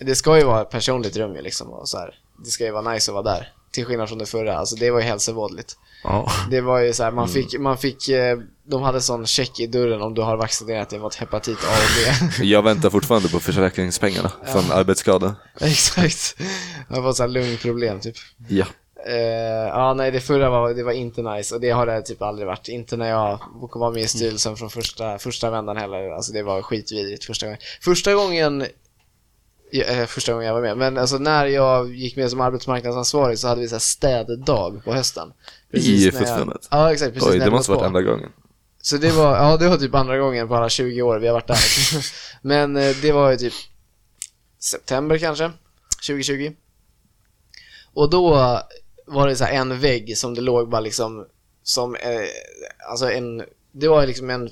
det ska ju vara ett personligt rum ju liksom och så här. Det ska ju vara nice att vara där. Till skillnad från det förra, alltså det var ju hälsovådligt. Ja. Det var ju så här, man fick, man fick eh, de hade sån check i dörren om du har vaccinerat dig mot hepatit A och B. Jag väntar fortfarande på försäkringspengarna från arbetsskada. Exakt. Det var så här lungproblem typ. Ja. Eh, ja, nej, det förra var, det var inte nice och det har det typ aldrig varit. Inte när jag var med i styrelsen från första, första vändan heller. Alltså det var skitvidrigt första gången. Första gången Ja, eh, första gången jag var med. Men alltså när jag gick med som arbetsmarknadsansvarig så hade vi så här städdag på hösten. I när jag- förbundet? Ja, exakt. Precis Oj, när det jag måste var varit på. enda gången. Så det var, ja det var typ andra gången på alla 20 år vi har varit där. Men eh, det var ju typ september kanske, 2020. Och då var det så här en vägg som det låg bara liksom som, eh, alltså en, det var liksom en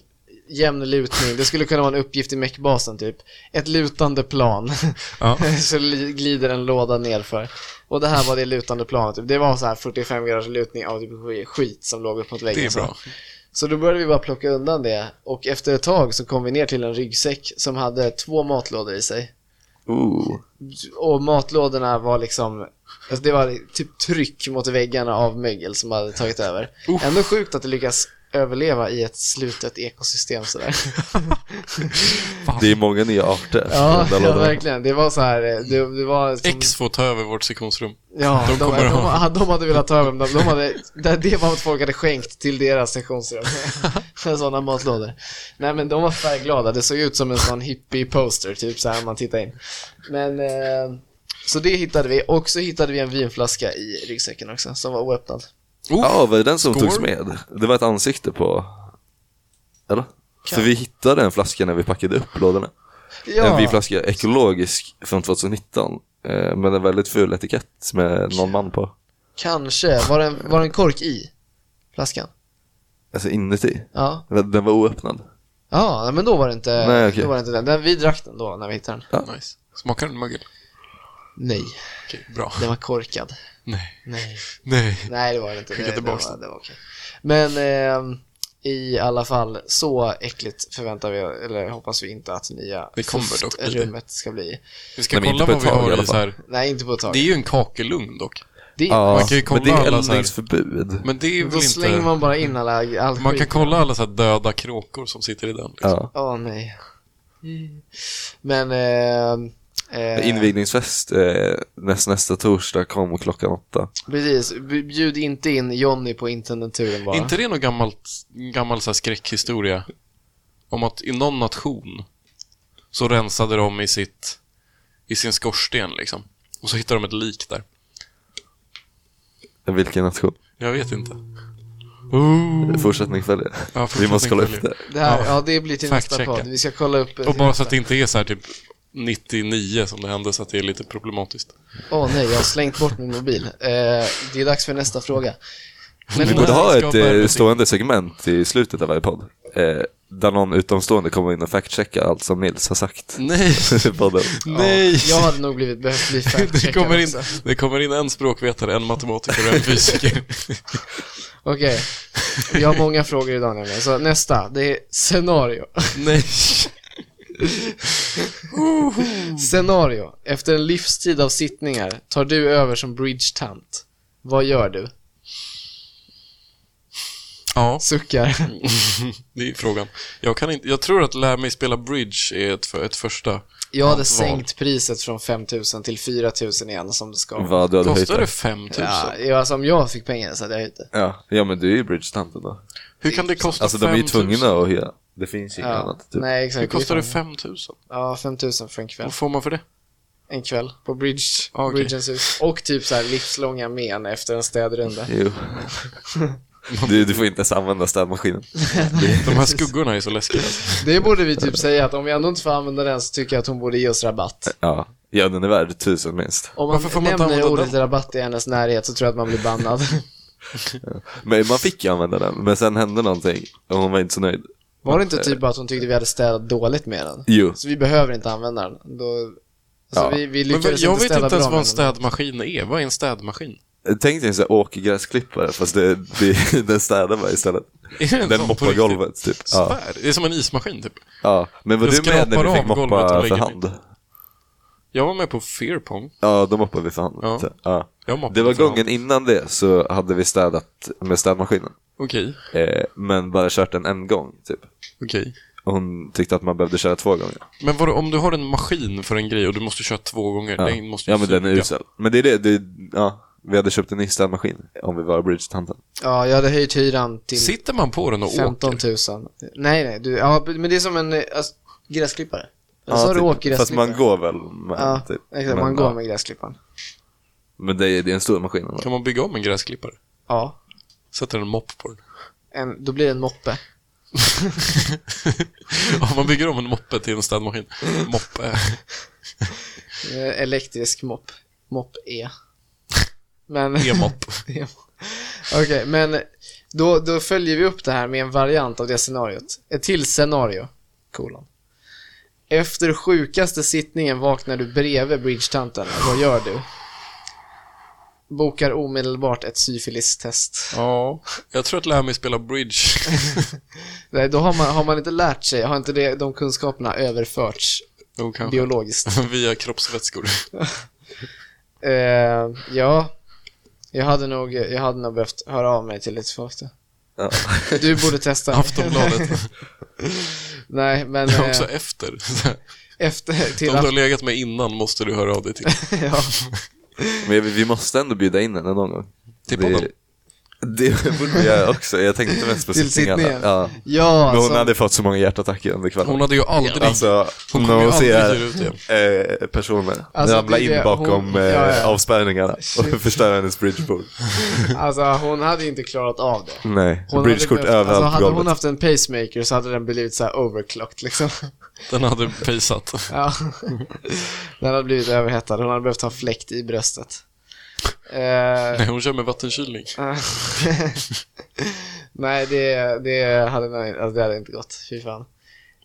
jämn lutning. Det skulle kunna vara en uppgift i mekbasen typ. Ett lutande plan. Ja. så li- glider en låda nerför. Och det här var det lutande planet. Typ. Det var så här 45 graders lutning av typ skit som låg upp mot väggen. Det är så. bra. Så då började vi bara plocka undan det och efter ett tag så kom vi ner till en ryggsäck som hade två matlådor i sig. Ooh. Och matlådorna var liksom, alltså det var typ tryck mot väggarna av mögel som hade tagit över. Uff. Ändå sjukt att det lyckas överleva i ett slutet ekosystem sådär. Det är många nya arter. Ja, i den där ja lådan. verkligen. Det var så här, eh, det, det var... som- X får ta över vårt sektionsrum. Ja, de de, de, kommer de, ha- de hade velat ta över dem. De, de hade, det, det var vad folk hade skänkt till deras sektionsrum. Sådana matlådor. Nej men de var färgglada. Det såg ut som en sån hippie-poster, typ så här om man tittar in. Men, eh, så det hittade vi. Och så hittade vi en vinflaska i ryggsäcken också, som var oöppnad. Oh, Ja, var det den som Skål. togs med? Det var ett ansikte på... Eller? För vi hittade en flaska när vi packade upp lådorna. En Ja, vinflaska, ekologisk, från 2019. eh, Med en väldigt ful etikett med någon man på. kanske. Var det, en, var det en kork i flaskan? Alltså inuti. Ja. Eller, Den var oöppnad. Ja, men då var det inte, Nej, okej. då var det inte den. den. Vi drack den då, när vi hittade den. Nice. Smakar den mögel? Nej, Okej, bra. den var korkad. Nej. Nej. Nej. Nej, det var det inte. Skicka Det, det, tillbaks var, den. det var okej. Men eh, i alla fall, så äckligt förväntar vi, eller hoppas vi inte att nya Det kommer dock bli det. rummet ska bli. Vi ska Nej, men kolla inte på vad vi har ett tag i alla i så här. Nej, inte på ett tag. Det är ju en kakelugn dock. Det är- man kan ju kolla men det är alla så här- eldningsförbud. Men det är väl då slänger inte... Man, man bara in alla, all skit. kan kolla alla så här döda kråkor som sitter i den. Liksom. Ja. Åh nej. Men... Eh, eh, Invigningsfest eh, näst, nästa torsdag kom klockan åtta. precis, B- bjud inte in Jonny på intendenturen bara. inte det någon gammalt, gammal så här skräckhistoria? Om att i någon nation så rensade de i, sitt, i sin skorsten liksom. Och så hittade de ett lik där. Vilken nation? Jag vet inte. Ooh. Mm. Fortsättning följer. Ja, Vi måste kolla upp fortsättning det. det här, ja. Ja. det blir till Fact nästa checka. podd. Vi ska kolla upp... Och bara så att det inte är så här typ 99 som det hände så att det är lite problematiskt. Åh nej, jag har slängt bort min mobil. Eh, det är dags för nästa fråga. Men Nej, Vi borde ha vi ska ett ha eh, bärbete. stående segment i slutet av varje podd. Eh, där någon utomstående kommer in och factcheckar allt som Nils har sagt. Mm. Nej! i podden. Nej! Ja, jag hade nog blivit behövt bli Det fact-checkad kommer, in, också. det kommer in en språkvetare, en matematiker och en fysiker. Okej, vi har många frågor idag nämligen. Så nästa, det är scenario. Nej. Mm. Scenario. Efter en livstid av sittningar tar du över som bridge-tant. Vad gör du? Ja, Suckar. Mm. det är frågan. Jag, kan inte, jag tror att lära mig spela bridge är ett, för- ett första. Jag hade Val. sänkt priset från 5000 till 4000 igen som det ska. Vad du hade höjt Kostar det det. 5000? Ja, ja, alltså om jag fick pengar så hade jag gjort det. Ja. ja, men du är ju bridgetanten då. Hur kan det kosta Alltså de är ju 5 000? tvungna att hyra. Det finns ju inget Ja, annat. Typ. nej, Hur exakt. kostar det fan- 5000? Ja, 5000 för en kväll. Vad får man för det? en kväll på Bridge, Ah, okej. Bridgens hus. Och typ så här livslånga men efter en städrunda. Jo. Du, du får inte ens använda städmaskinen. De här skuggorna är så läskiga. Det borde vi typ säga att om vi ändå inte får använda den så tycker jag att hon borde ge oss rabatt. Ja, ja den är värd tusen minst. Om man, Varför får man inte nämner använda ordet rabatt i hennes närhet så tror jag att man blir bannad. Men man fick ju använda den, men sen hände någonting och hon var inte så nöjd. Var det inte typ bara att hon tyckte vi hade städat dåligt med den? Jo. Så vi behöver inte använda den. Då, alltså Ja. vi, vi Men vad- lyckades jag inte vet städa inte ens bra vad en med den. städmaskin är. Vad är en städmaskin? Tänk dig en sån här åkergräsklippare fast det, det, den städar bara istället. Är det en sån Den på moppar riktigt? golvet typ. Ja. Svär. Det är som en ismaskin typ. ja. Men var Den du med när skrapar vi av fick golvet och moppa lägger för nytt. hand? Jag var med på Fearpong. Ja, då moppade vi för hand. Ja. Så, Ja. Jag moppade Det var för hand. gången innan det så hade vi städat med städmaskinen. Okej, Eh, men bara kört den en gång typ. okej. Och hon tyckte att man behövde köra två gånger. Men vadå, om du har en maskin för en grej och du måste köra två gånger, Ja, den måste ju ja men den är suga. usel. Men det är det, det ja. Vi hade köpt en ny städmaskin om vi var i Bridgetanten. Ja, jag hade höjt hyran till Sitter man på den och 15 åker? 000. Nej, nej. Du, ja, men det är som en eh, alltså, gräsklippare. Jag sa du åker typ. Fast man går väl med Ja, typ. exakt. Man Men, går ja. med gräsklipparen. Men det är, det är en stor maskin. ändå. Kan man bygga om en gräsklippare? Ja. Sätter en mopp på den? En, då blir det en moppe. ja, man bygger om en moppe till en städmaskin. Moppe. Eh, Elektrisk mopp. Mopp-E. Men... E-mopp. Okej, men då, då följer vi upp det här med en variant av det scenariot. Ett till scenario. Kolon. Efter sjukaste sittningen vaknar du bredvid bridgetanten. Vad gör du? Bokar omedelbart ett syfilistest. Ja. Jag tror att lära mig spela bridge. Nej, då har man, har man inte lärt sig, har inte det, de kunskaperna överförts Jo, kanske. biologiskt. Via kroppsvätskor. Eh, ja, jag hade, nog, jag hade nog behövt höra av mig till lite folk. då. Ja. Du borde testa. Aftonbladet. Nej, men Det är eh, också efter. efter De till... du har Aft- legat med innan måste du höra av dig till. ja. Men vi, vi måste ändå bjuda in henne någon gång. Till podden? det, det borde vi göra också. Jag tänkte mest på Till sittningarna. sittningen. Ja. ja, Men alltså, hon hade fått så många hjärtattacker under kvällen. Hon hade ju aldrig... Alltså, Hon när kommer ju hon aldrig ser ge ut igen. eh, personer Alltså, ramla det är in det, bakom hon- ja, ja. Eh, avspärrningarna och förstöra hennes bridgebord. alltså hon hade inte klarat av det. Nej, Hon hade bridgekort behövt- överallt alltså, på hade hon golvet. haft en pacemaker så hade den blivit så här overclocked liksom. Den hade pejsat. Ja. Den hade blivit överhettad. Hon hade behövt ha fläkt i bröstet. Eh, Nej, hon kör med vattenkylning. Nej, det, det, hade, nog inte- alltså, det hade inte gått. Fy fan.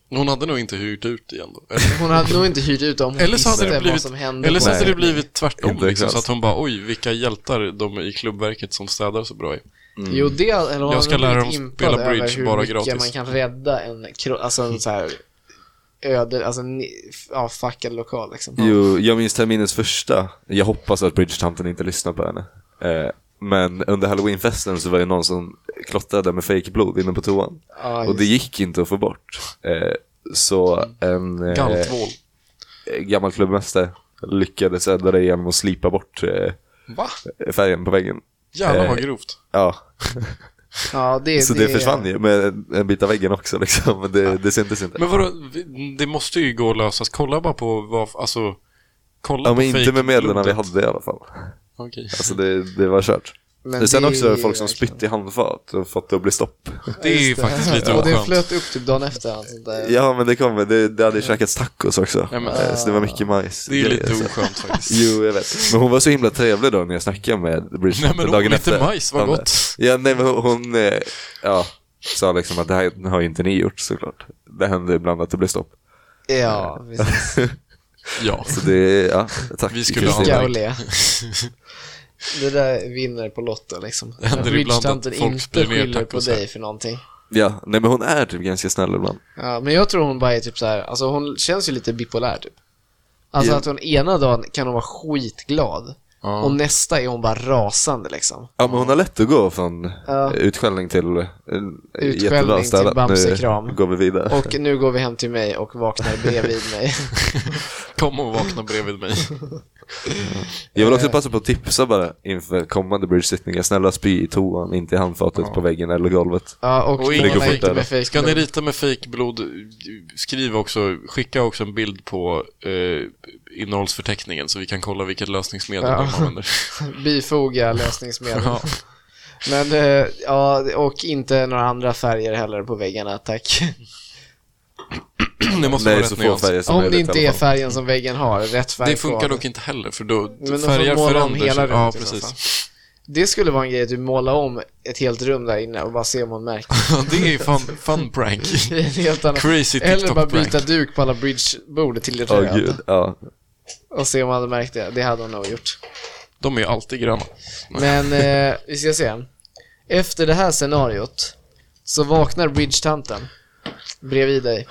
Hon hade nog inte hyrt ut igen då. Eller? Hon hade nog inte hyrt ut om hon Eller så hade visste det vad blivit, som hände. eller så på- hade Nej. det blivit tvärtom. Inte Liksom, så exakt. att hon bara, oj, vilka hjältar de i klubbverket som städar så bra är. Jo, det, eller hon Mm. Jag ska hade lära blivit dem impad spela över bridge hur bara mycket gratis. man kan rädda en, kro- alltså en så här öde, alltså en avfackad lokal liksom. Jo, jag minns terminens första. Jag hoppas att bridgetanten inte lyssnar på henne. Eh, men under halloweenfesten så var det någon som klottrade med fejkblod inne på toan. Ja, just och det gick inte att få bort. Eh, så en eh, Galtvål. gammal klubbmästare lyckades rädda det genom att slipa bort eh, Va? färgen på väggen. Jävlar vad eh, grovt. Ja, Ja, det, så det, försvann ju med en- en bit av väggen också liksom. Men det, det syntes inte. Men vadå, vi- det måste ju gå att lösas. Kolla bara på vad, alltså, kolla Ja, på men inte med medlen vi fejkblodet. hade i alla fall. Okej. Alltså det, det var kört. Men Men sen det är också ju folk som verkligen- spytt i handfat och fått det att bli stopp. Det är ju faktiskt lite Och det oskönt. flöt upp typ dagen efter. Alltså, där. Ja men det kommer, det, det hade ju käkats tacos också. Ja, men- Eh, så det var mycket majs. Det är ju lite Så- oskönt faktiskt. Jo, jag vet. Men hon var så himla trevlig då när jag snackade med Bridget Nej, men hon- dagen lite efter. majs, vad Ja, men- gott. Ja, nej men hon, hon eh, ja, sa liksom att det här har ju inte ni gjort såklart. Det hände ibland att det blev stopp. Ja, precis. Ja. Så det, ja, tack Vi skulle ha- Kristina. Ska och le. Det där vinner på Lotto liksom. Det händer När ibland att bridgetanten folk inte spyr ner skyller på tacos här. dig för någonting. Ja, nej men hon är typ ganska snäll ibland. Ja, men jag tror hon bara är typ så här, alltså hon känns ju lite bipolär typ. Alltså Ja. att hon ena dagen kan hon vara skitglad Ja. och nästa är hon bara rasande liksom. Ja men hon har lätt att gå från Ja. ja. utskällning till eh, till jättebra städat. Bamsekram. Nu går vi vidare. Och nu går vi hem till mig och vaknar bredvid mig. Kom och vakna bredvid mig. Jag vill också passa på att tipsa bara inför kommande bridge-sittningar. Snälla spy i toan, inte i handfatet på väggen eller golvet. Ja, och, Och ingen ingen har inte fotare. med Ska ni Facebook. rita med fejkblod, skriv också, skicka också en bild på eh, innehållsförteckningen så vi kan kolla vilket lösningsmedel Ja. de använder. Bifoga lösningsmedel. Ja. Men eh, ja, och inte några andra färger heller på väggarna, tack. Det måste Nej, vara så rätt få nyans. färger som Om möjligt det i inte alla är fall. färgen som väggen har, rätt färg Det funkar kvar. dock inte heller för då Men de får Typ färger måla om förändras. hela rummet Ja, i så fall. precis. Det skulle vara en grej att du målar om ett helt rum där inne och bara se om hon märker. det är ju fun, fun prank. Det är en helt annan. Crazy Eller bara TikTok-prank. byta duk på alla bridgebord till det Åh röda. gud, ja. och se om han hade märkt det. Det hade hon nog gjort. De är ju alltid gröna. Men eh, vi ska se. Efter det här scenariot så vaknar bridgetanten bredvid dig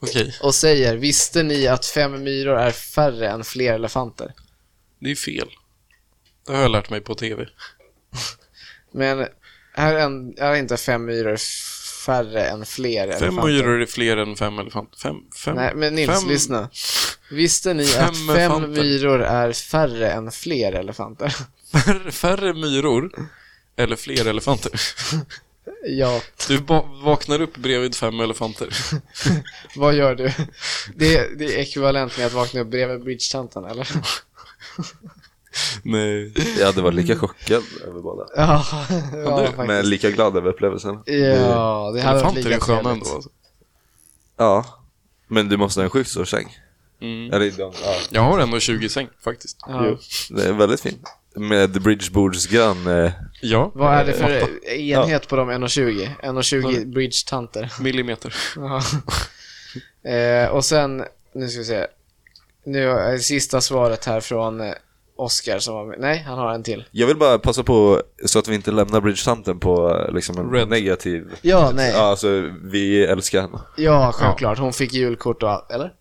Okej, och säger Visste ni att fem myror är färre än fler elefanter? det är fel. Det har jag lärt mig på TV. Men här är, en, här är inte fem myror färre än fler Fem elefanter. myror är fler än fem elefanter. Fem, fem, Nej, men Nils, fem... lyssna. Visste ni Fem att fem elefanter. myror är färre än fler elefanter? Färre, färre myror eller fler elefanter. ja, Du ba- vaknar upp bredvid fem elefanter. vad gör du? Det, det är ekvivalent med att vakna upp bredvid bridgetanten, eller? Nej. Jag hade varit lika chockad över båda. Ja, ja du, faktiskt. Men lika glad över upplevelsen. Ja, det hade varit Elefanter lika är sköna trevligt. ändå. Alltså. Ja. Men du måste ha en sjukt stor säng. Mm. Eller, de- ja. Jag har ändå 20 säng faktiskt. Ja. Det är väldigt fint. Med bridgebordsgrön. Eh, Ja, Vad är det för enhet på de 1,20? 1,20 bridge-tanter. millimeter. eh, och sen, nu ska vi se. Nu är sista svaret här från eh, Oscar som var med. Nej, han har en till. jag vill bara passa på så att vi inte lämnar bridgetanten på eh, liksom en Red. negativ... Ja, nej. Ja, alltså vi älskar henne. Ja, självklart. Hon fick julkort och allt, eller?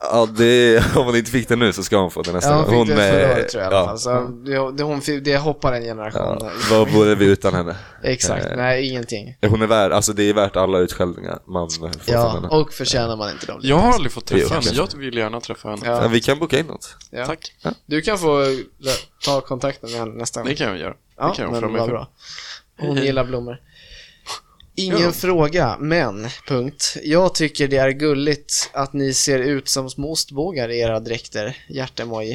Ja, det, om hon inte fick det nu så ska hon få det nästa Ja, hon fick det förra eh, året tror jag i alla ja. fall. Så det, det, hon, fick- det hoppar en generation. Ja, vad eh, vore vi utan henne? Exakt, nej ingenting. Hon är värd, alltså det är värt alla utskällningar man får från Ja, henne. och förtjänar man inte dem. Jag har aldrig fått träffa Jo. henne. Jag vill gärna träffa henne. Ja, Ja, Vi kan boka in något. ja. Tack. Du kan få eh, ta kontakten med henne nästa gång. Det kan jag göra. Ja, det kan jag men offra mig vad för. bra. Hon hej. gillar blommor. Ingen Ja. fråga, men punkt. Jag tycker det är gulligt att ni ser ut som små ostbågar i era dräkter. Hjärtemoji.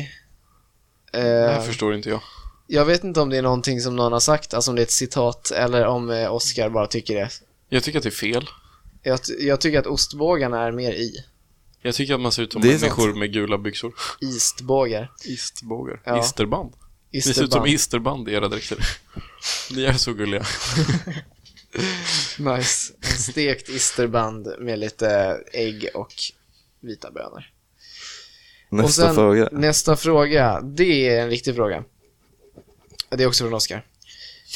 Eh, Det här förstår inte jag. jag vet inte om det är någonting som någon har sagt, alltså om det är ett citat eller om eh, Oscar bara tycker det. Jag tycker att det är fel. Jag, ty- jag tycker att ostbågarna är mer i. Jag tycker att man ser ut som Det är människor med gula byxor. Istbågar. Istbågar. Ja. Isterband. Ni ser ut som Isterband. isterband i era dräkter. Ni är så gulliga. Nice. En stekt isterband med lite eh, ägg och vita bönor. Nästa och sen, fråga. Nästa fråga, det är en riktig fråga. Det är också från Oskar.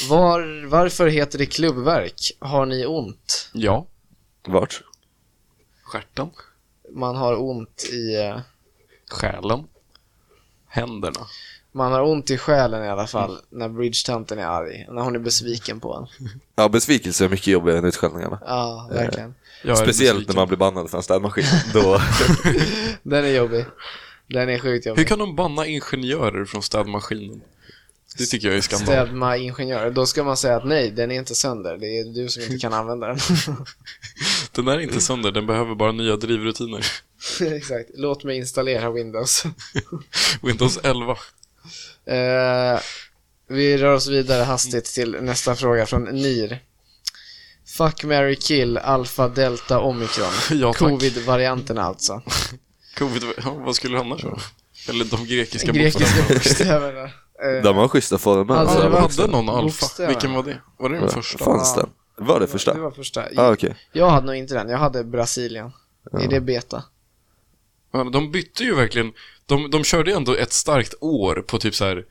Var, varför heter det klubbverk? Har ni ont? Ja. Vart? Stjärten. Man har ont i... eh, Själen. Händerna. Man har ont i själen i alla Mm. fall när bridgetanten är arg. När hon är besviken på en. Ja, besvikelse är mycket jobbigare än utskällningarna. Ja, verkligen. Jag är Speciellt besviken. när man blir bannad för en städmaskin. Då, Den är jobbig. Den är sjukt Hur jobbig. kan de banna ingenjörer från städmaskinen? Det tycker jag är skandal. Städma ingenjörer. Då ska man säga att nej, den är inte sönder. Det är du som inte kan använda den. Den är inte sönder, den behöver bara nya drivrutiner. Exakt. Låt mig installera Windows. Windows 11. Eh, vi rör oss vidare hastigt till nästa fråga från Nir. Fuck, Mary kill, alfa, delta, omikron. Ja, tack. Covid-varianterna alltså. Covid, ja, vad skulle det annars vara? Eller de grekiska, bokstäverna. Grekiska bokstäverna. Eh, de har schyssta former. Alltså, det Vad var- Hade någon alfa? bokstäverna. Vilken var det? Var det den första? Fanns Ja. den? Var det första? Det var första. Ja, okej. Jag hade nog inte den, jag hade Brasilien. Är det beta? Ja, men De bytte ju verkligen, de, de körde ju ändå ett starkt år på typ så här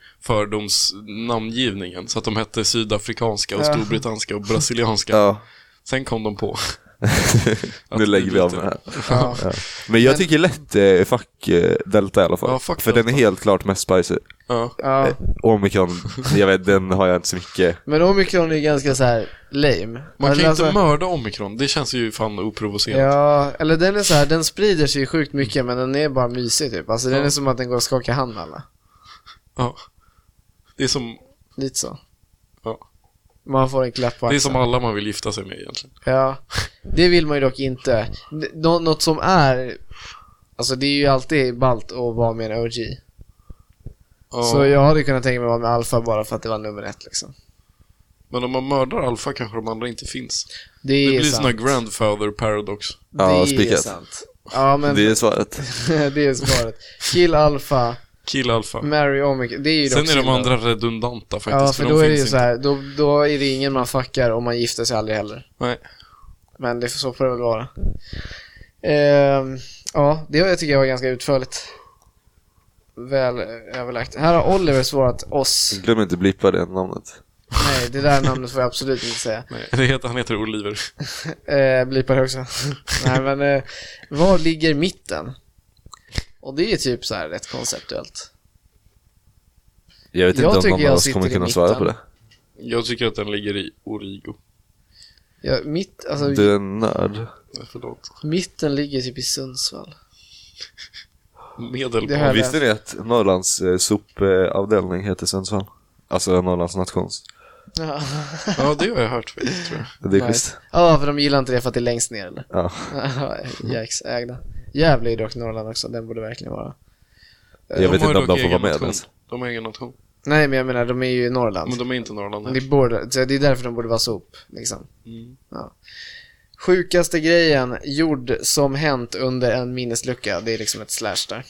fördomsnamngivningen. Så att de hette sydafrikanska och Ja. storbritannska och brasilianska. Ja, Sen kom de på. nu att lägger vi av byta. med det här. Ja. Men jag Men- tycker lätt eh, fuck eh, Delta i alla fall. Ja, fuck för den är Delta. helt klart mest spicy. Ja. ja. Omikron, jag vet, den har jag inte så mycket. Men omikron är ganska så här lame. Man kan Eller ju alltså- inte mörda omikron, det känns ju fan oprovocerat. Ja, eller den är så här, den sprider sig sjukt mycket men den är bara mysig typ. Alltså den är som att den går att skaka hand med alla. Ja. Det är som, Lite så. Ja. Man får en klapp på det är axeln. som alla man vill gifta sig med egentligen. Ja, det vill man ju dock inte. N- Nå- något som är, alltså det är ju alltid ballt att vara med en OG. Ja. Så jag hade kunnat tänka mig att vara med Alfa bara för att det var nummer ett liksom. Men om man mördar alfa kanske de andra inte finns. Det Det är blir sant. såna grandfather paradox. Det Ja, är spikat. sant. Ja, men Det är svaret. det är svaret. Kill Alfa, Kill Alpha. Mary Omicron, det är ju dock Sen är de synd. andra redundanta faktiskt. Ja, för då de är det ju finns så här, då, då är det ingen man fuckar om man gifter sig aldrig heller. inte. Nej. Men det, så får det väl vara. Ehm, ja, det tycker jag var ganska utförligt. Väl överlagt. Här har Oliver svarat oss. Glöm inte blippa det namnet. Nej, det där namnet får jag absolut inte säga. Nej. Det heter, han heter Oliver. Eh, blipar det också. Nej, men eh, var ligger mitten? Och det är ju typ så här rätt konceptuellt. Jag vet Jag inte tycker om någon jag av oss sitter kommer i kunna mitten. svara på det. Jag tycker att den ligger i Origo. Ja, mitt, alltså, Du är en nörd. Nej, Förlåt. Mitten ligger typ i Sundsvall. Det Medelpad. här- Visste ni att Norrlands eh, sopavdelning heter Sundsvall? Alltså Norrlands nations. Ja, Ja, det har jag hört faktiskt, tror jag. Det är nice. schysst. Ja, för de gillar inte det för att det är längst ner eller? Eh, Ja. Jacks ägda. Gävle är dock Norrland också, den borde verkligen vara. Jag vet har inte om ju dock de får vara egen med nation. ens. De har egen nation. Nej, men jag menar, de är ju i Norrland. Men de är inte Norrland Det, här. borde, så det är därför de borde vara sop, liksom. Mm. Sjukaste grejen gjord som hänt under en minneslucka, det är liksom ett slash där.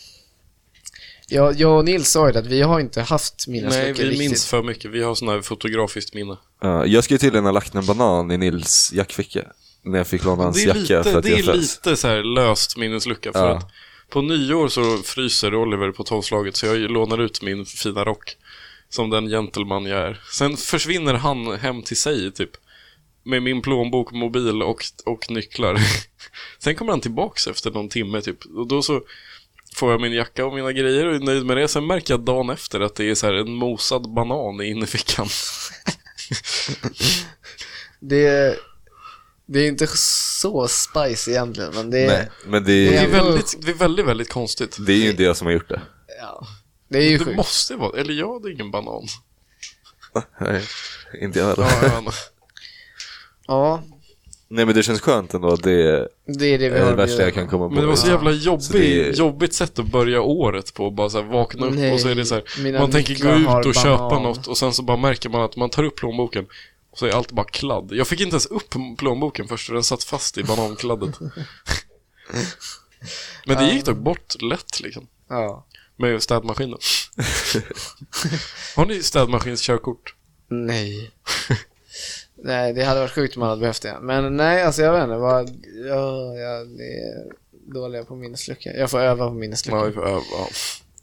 Jag, jag och Nils sa ju det, att vi har inte haft minnesluckor Nej, vi riktigt. minns för mycket. Vi har sån här fotografiskt minne. Ja, jag skulle tydligen ha lagt en banan i Nils jackficka. När jag fick låna hans Det är jacka för lite, att det jag är frös. lite så här löst minneslucka. För Ja. att på nyår så fryser Oliver på tolvslaget, så jag lånar ut min fina rock. Som den gentleman jag är. Sen försvinner han hem till sig, typ. Med min plånbok, mobil och, och nycklar. Sen kommer han tillbaks efter någon timme, typ. Och då så får jag min jacka och mina grejer och är nöjd med det. Sen märker jag dagen efter att det är så här en mosad banan i innerfickan. Det, det är inte så spice egentligen, men det är, Nej, men det är, Det Ja. är väldigt, det är väldigt, väldigt konstigt. det är ju inte jag som har gjort det. ja, det är ju Det sjukt. måste vara, eller jag hade ingen banan. Nej, inte jag heller. Ja, jag vet. Ja, Nej men det känns skönt ändå att det är det är det vi det har värsta jag kan komma på. Men det var så jävla jobbig, Så det är- jobbigt sätt att börja året på. Bara så här vakna upp Nej, och så är det så här, mina man tänker gå nycklar har ut och köpa banan. något och sen så bara märker man att man tar upp plånboken och så är allt bara kladd. Jag fick inte ens upp plånboken först för den satt fast i banankladdet. Men det gick dock bort lätt liksom. Ja. Med städmaskinen. Har ni städmaskinskörkort? Nej. nej, det hade varit sjukt om man hade behövt det. Men nej, alltså jag vet inte. Vad, ja, jag är dåliga på minneslucka. Jag får öva på minneslucka. Ja, ja, ja.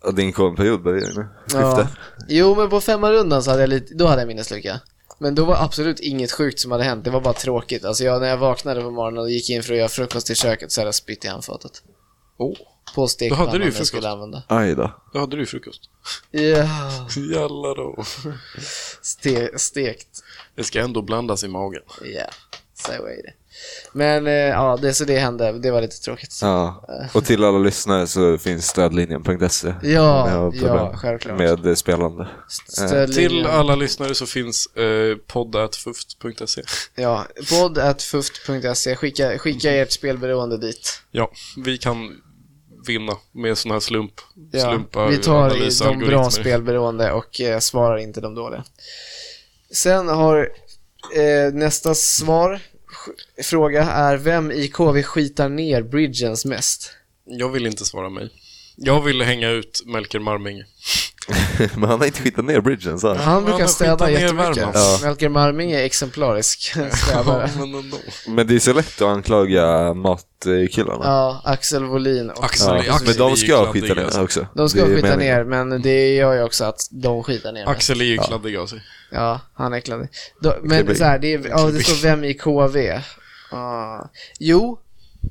Ja, din komperiod börjar ju nu. Skifte. Jo, men på femma rundan så hade jag lite, då hade jag minneslucka. Men då var absolut inget sjukt som hade hänt, det var bara tråkigt. Alltså jag, när jag vaknade på morgonen och gick in för att göra frukost i köket så hade jag spytt i handfatet. Åh, På stekpannan Då hade du ju jag skulle frukost. använda. Aj då. då hade du ju frukost. Ja, Jalla då. ste, stekt. Det ska ändå blandas i magen. Ja, så är det. Men eh, ja, det, så det hände, det var lite tråkigt. Ja. Och till alla lyssnare så finns stödlinjen.se. om ni har problem ja, självklart. Med eh, spelande. Stödlinjen. Till alla lyssnare så finns eh, poddatfuft.se. Ja, podd.fuft.se. Skicka, skicka ert spelberoende dit. Ja, vi kan vinna med sådana här slump, Ja, slumpa vi tar i analys- de bra algoritmer. spelberoende och eh, svarar inte de dåliga. Sen har eh, nästa svar, sj- fråga är vem i KV skitar ner Bridgens mest? Jag vill inte svara mig. Jag vill hänga ut Melker Marming. men han har inte skitat ner bridgen så. han. Han brukar han skitar städa ner jättemycket. Värmland. Ja. Melker Marming är exemplarisk städare. men ändå. Men det är så lätt att anklaga matkillarna. Ja, Axel Wåhlin och Axel, Ja, Axel men är de ju ska kladdiga skita av ner sig. också. de Det ska är skita meningen. ner, men det gör ju också att de skitar ner. Axel är ju kladdig av sig. Ja, han är kladdig. Då, men Klibbig. så här, det, är, ja, det Klibbig. står vem i KV? Ah. Jo,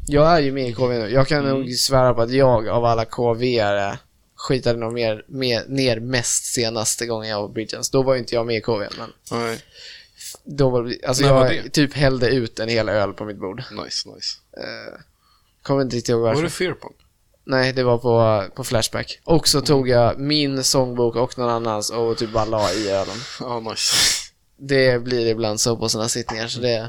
jag är ju med i KV nu. Jag Mm. kan nog svära på att jag av alla KV-are skitade nog mer, mer, ner mest senaste gången jag var på Bridgens. Då var ju inte jag med i KV, men Nej. då var det- alltså När jag var det? typ hällde ut en hel öl på mitt bord. Nice, nice. Eh, Kommer inte riktigt ihåg varför. Var det Fearpunk? Nej, det var på, på Flashback. Och så tog jag min sångbok och någon annans och typ bara la i ölen. Ja, nice. Det blir ibland så på sådana sittningar, så det...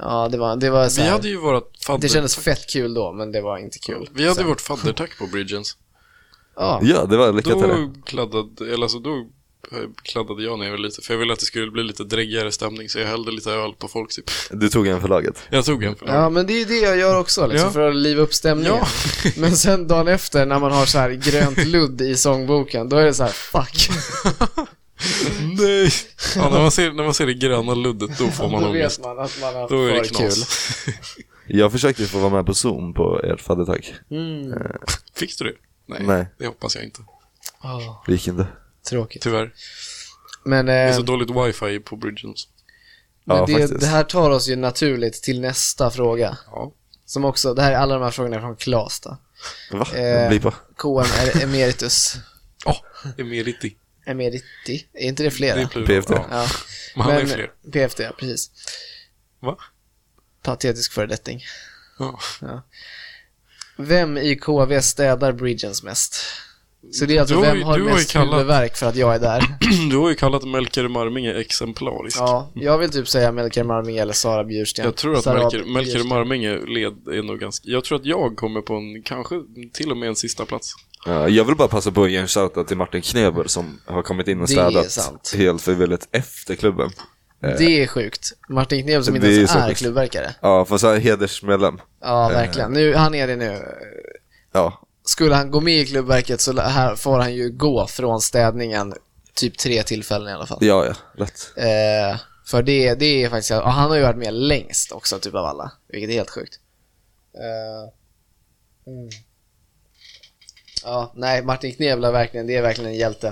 Ja, det var, det var så Vi här, hade ju vårt fadder... Det kändes fett kul då, men det var inte kul. Vi hade sen. vårt faddertack på Bridgens. Ja, Ja, det var lyckat till det. Då kladdade, eller alltså då eh, kladdade jag när jag var liten. För jag ville att det skulle bli lite dräggigare stämning så jag hällde lite öl på folk typ. Du tog en för laget. Jag tog en för Ja, men det är ju det jag gör också, liksom, Ja. för att liva upp stämningen. Ja. Men sen dagen efter, när man har så här grönt ludd i sångboken, då är det så här, fuck. Nej! Ja, när, man ser, när man ser det gröna luddet då får man då ångest. vet man att man har Då är det för kul. knas. Jag försökte ju få vara med på Zoom på ert faddertag. Mm. Fick du det? Nej, Nej. det hoppas jag inte. Åh, Det gick inte. tråkigt. Tyvärr. Men, Det är eh, så dåligt wifi på Bridgens. men Ja, det, faktiskt. det här tar oss ju naturligt till nästa fråga. Ja. Som också, det här är alla de här frågorna är från Klas då. Va? Eh. Blipa. KM är emeritus. Ja, det är mer riktigt. Emeriti. Är inte det Det flera? är plural. PFT. Ja. ja. Men han är fler. PFD, ja, precis. Va? Patetisk föredetting. Ja. Vem i KV städar Bridgens mest? Så det är alltså Du har ju- vem har du har ju mest kallat- huvudvärk för att jag är där? Du har ju kallat Melker Marminge exemplarisk. Ja, jag vill typ säga Melker Marminge eller Sara Bjursten. Jag tror att Sara Melker, Bjursten. Melker Marminge led är nog ganska... Jag tror att jag kommer på en, kanske till och med en sista plats. Ja, jag vill bara passa på att ge en shoutout till Martin Kneber som har kommit in och Det är städat sant. helt frivilligt efter klubben. Det är sjukt. Martin Kneb som inte Det är ens så är sjukt. klubbverkare. Ja, fast han är hedersmedlem. Ja, verkligen. Eh. Nu, han är det nu. Ja, Skulle han gå med i klubbverket så här får han ju gå från städningen typ tre tillfällen i alla fall. ja, ja. Lätt. Eh, för det, det är faktiskt, och han har ju varit med längst också typ av alla, vilket är helt sjukt. Eh, mm. Ja, nej, Martin Knebla verkligen, det är verkligen en hjälte.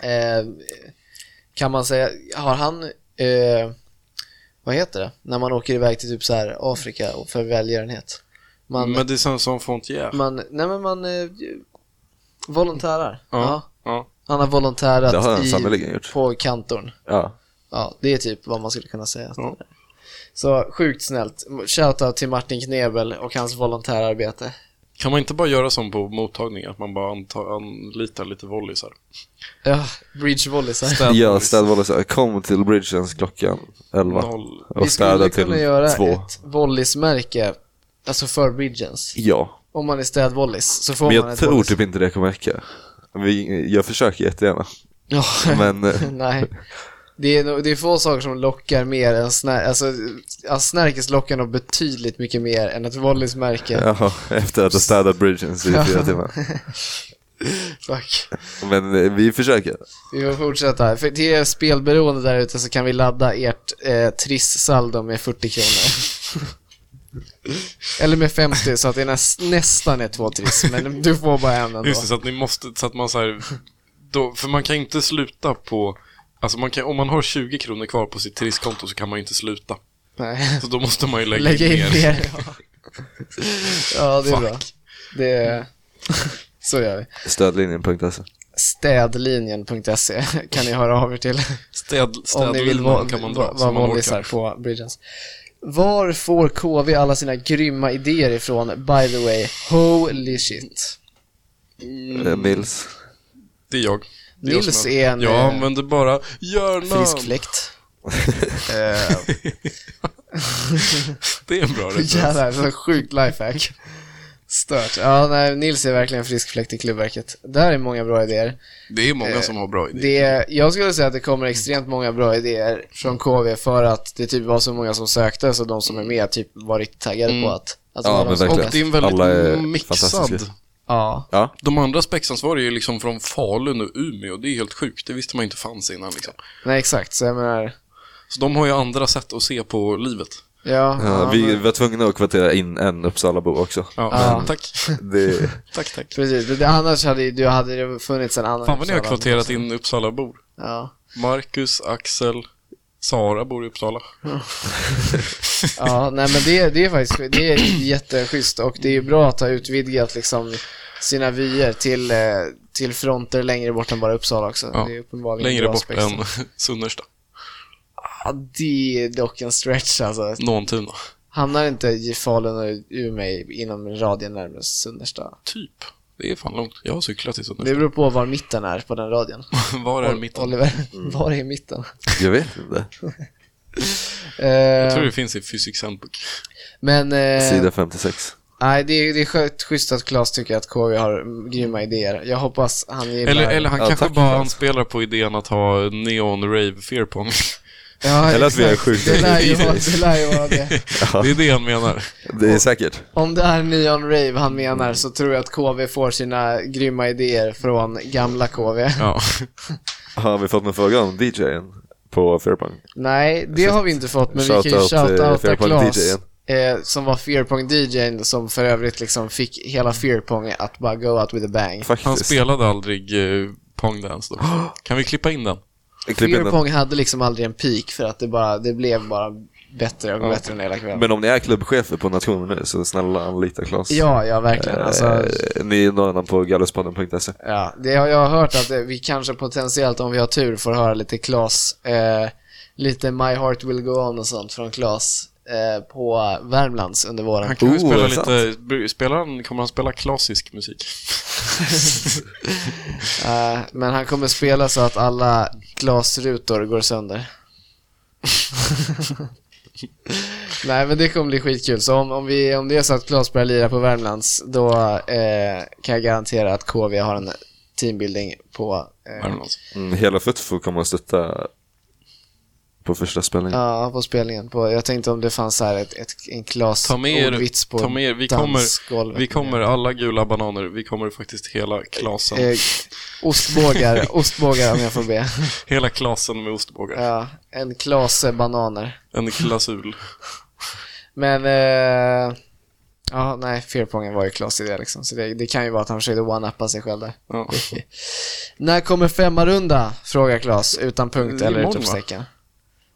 Eh, kan man säga, har han, eh, vad heter det, när man åker iväg till typ så här Afrika och för välgörenhet? Man, Men det är sen som Fontier. man, nej men man eh, volontärar. Ja. Ja. ja. Han har volontärat Det har han i- sannerligen gjort. på kantorn. Ja. Ja, det är typ vad man skulle kunna säga. Ja. Så sjukt snällt. Shoutout till Martin Knebel och hans volontärarbete. Kan man inte bara göra som på mottagning, att man bara anta, anlitar lite volleysar? Ja, bridge volleysar. Ja, städbollen kom till Bridgens klockan 11 Noll. Vi och städa skulle till kunna göra två. ett volleysmärke, alltså för bridgens. Ja, Om man är städvolleys så får men man jag ett tror volleys. typ inte det kommer räcka. Vi, jag försöker jättegärna, Ja, men eh, nej. Det är, nog- det är få saker som lockar mer än snär, alltså, ja, snärkes lockar nog betydligt mycket mer än ett volleysmärke. ja, efter att ha städat Bridgens i fyra timmar. Fuck. Men eh, vi försöker. Vi får fortsätta. För till er spelberoende där ute så kan vi ladda ert eh, Triss-saldo med 40 kronor. Eller med 50 så att det näst, nästan är två Triss, men du får bara en ändå. Just det, så att ni måste, så att man så här, då, för man kan ju inte sluta på, alltså man kan, om man har 20 kronor kvar på sitt turistkonto så kan man ju inte sluta. Nej. Så då måste man ju lägga, Lägga in mer. mer. Ja, ja det är bra. Det är... Så gör vi. Stödlinjen.se. Städlinjen.se kan ni höra av er till Städ, om ni vill städlinan vara kan man va, dra. va, så man vanlisar orkar. på Bridgens. Var får KV alla sina grymma idéer ifrån, by the way? Holy shit. Mm. Eh, Nils. Det är jag. Det jag Nils som är en Jag eh, använder bara hjärnan. frisk fläkt. Eh, Det är en bra referens. Jävlar, så sjukt lifehack. Stört. Ja, nej, Nils är verkligen frisk fläkt i klubbverket. Där är många bra idéer. Det är många Eh, som har bra idéer. Det, jag skulle säga att det kommer extremt många bra idéer från KV för att det typ var så många som sökte så de som är med typ var riktigt taggade på att, att Mm. Ja, vara de men som- verkligen. Och det är en väldigt Alla är mixad. fantastiska. Ja, Ja, De andra spexansvariga är ju liksom från Falun och Umeå. Det är helt sjukt. Det visste man inte fanns innan liksom. nej exakt. Så jag menar, Så de har ju andra sätt att se på livet. ja. ja, ja, vi men- var tvungna att kvartera in en Uppsalabo också. Ja, Ja. tack. Det, Tack, tack. Precis, det- det, annars hade, ju- du, hade det funnits en annan Fan vad ni har Uppsala. kvoterat in Uppsalabor. Ja, Marcus, Axel, Sara bor i Uppsala. ja nej men det, det är faktiskt det är jätteschysst och det är ju bra att ha utvidgat liksom sina vyer till, eh, till fronter längre bort än bara Uppsala också. Ja. Det är uppenbarligen Längre bra bort aspekter. än Sunnersta. Ja, det är dock en stretch alltså. Nåntuna. Hamnar inte i Falun och Umeå inom radien närmast Sunnersta? Typ. Det är fan långt. Jag har cyklat till Det Sunnersta. beror på var mitten är på den radien. Var är mitten? Mm. Oliver, var är mitten? jag vet inte. Jag Eh, tror det finns i Physics Handbook. men... eh, Sida 56. Nej, det är, det är skö- schysst att Claes tycker att KV har mm, grymma idéer. Jag hoppas han gillar... Eller, eller han Ja, kanske tack. bara anspelar på idén att ha neon rave fearpong. ja, eller att vi exakt. är sjukt det lär, ju vara, idéer. det lär ju vara det. Ja. Det är det han menar. Det är säkert. Om det är Neon Rave han menar så tror jag att KV får sina grymma idéer från gamla KV. Ja. Har vi fått någon fråga om DJn på Fairpunk? Nej, det har vi inte fått, men vi kan ju Shoutout, eh, shoutouta Fairpunk Claes. DJ:en. Eh, som var Fearpong-DJn som för övrigt liksom fick hela Fearpong att bara go out with a bang. Faktiskt. Han spelade aldrig uh, Pong Dance då. Kan vi klippa in den? Klipp in den. Fearpong hade liksom aldrig en peak för att det bara, det blev bara bättre och Ja. bättre den hela kvällen. Men om ni är klubbchefer på nationen nu så snälla anlita Claes. Ja, ja verkligen. Alltså, Eh, Ni når honom på galluspodden.se. ja, det, har- jag har hört att eh, vi kanske potentiellt, om vi har tur, får höra lite Klas, eh, lite My Heart Will Go On och sånt från Klas eh, på Värmlands under våren. Han kan ju Oh, spela är det lite... br- Spelar han, kommer han spela klassisk musik? Eh, men han kommer spela så att alla glasrutor går sönder. Nej men det kommer bli skitkul, så om, om, vi, om det är så att Klas börjar lira på Värmlands, då eh, kan jag garantera att KV har en teambuilding på... Eh, Värmlands. Mm, hela Futfo kommer att stötta på första spelningen. ja, på spelningen. På, jag tänkte om det fanns så här ett, ett, en Klas Ta med er- ordvits på ta med er- vi kommer- dansgolvet. Vi kommer, alla gula bananer, vi kommer faktiskt hela klasen. Eh, ostbågar, ostbågar om jag får be. Hela klasen med ostbågar. ja, en Klase bananer. En klasul. Men, eh, ja, nej, Fearpongen var ju Klas idé liksom. Så det, det kan ju vara att han försökte one-uppa sig själv där. Ja. När kommer femma runda? Frågar Klas, utan punkt Det är eller imorgon, utropstecken.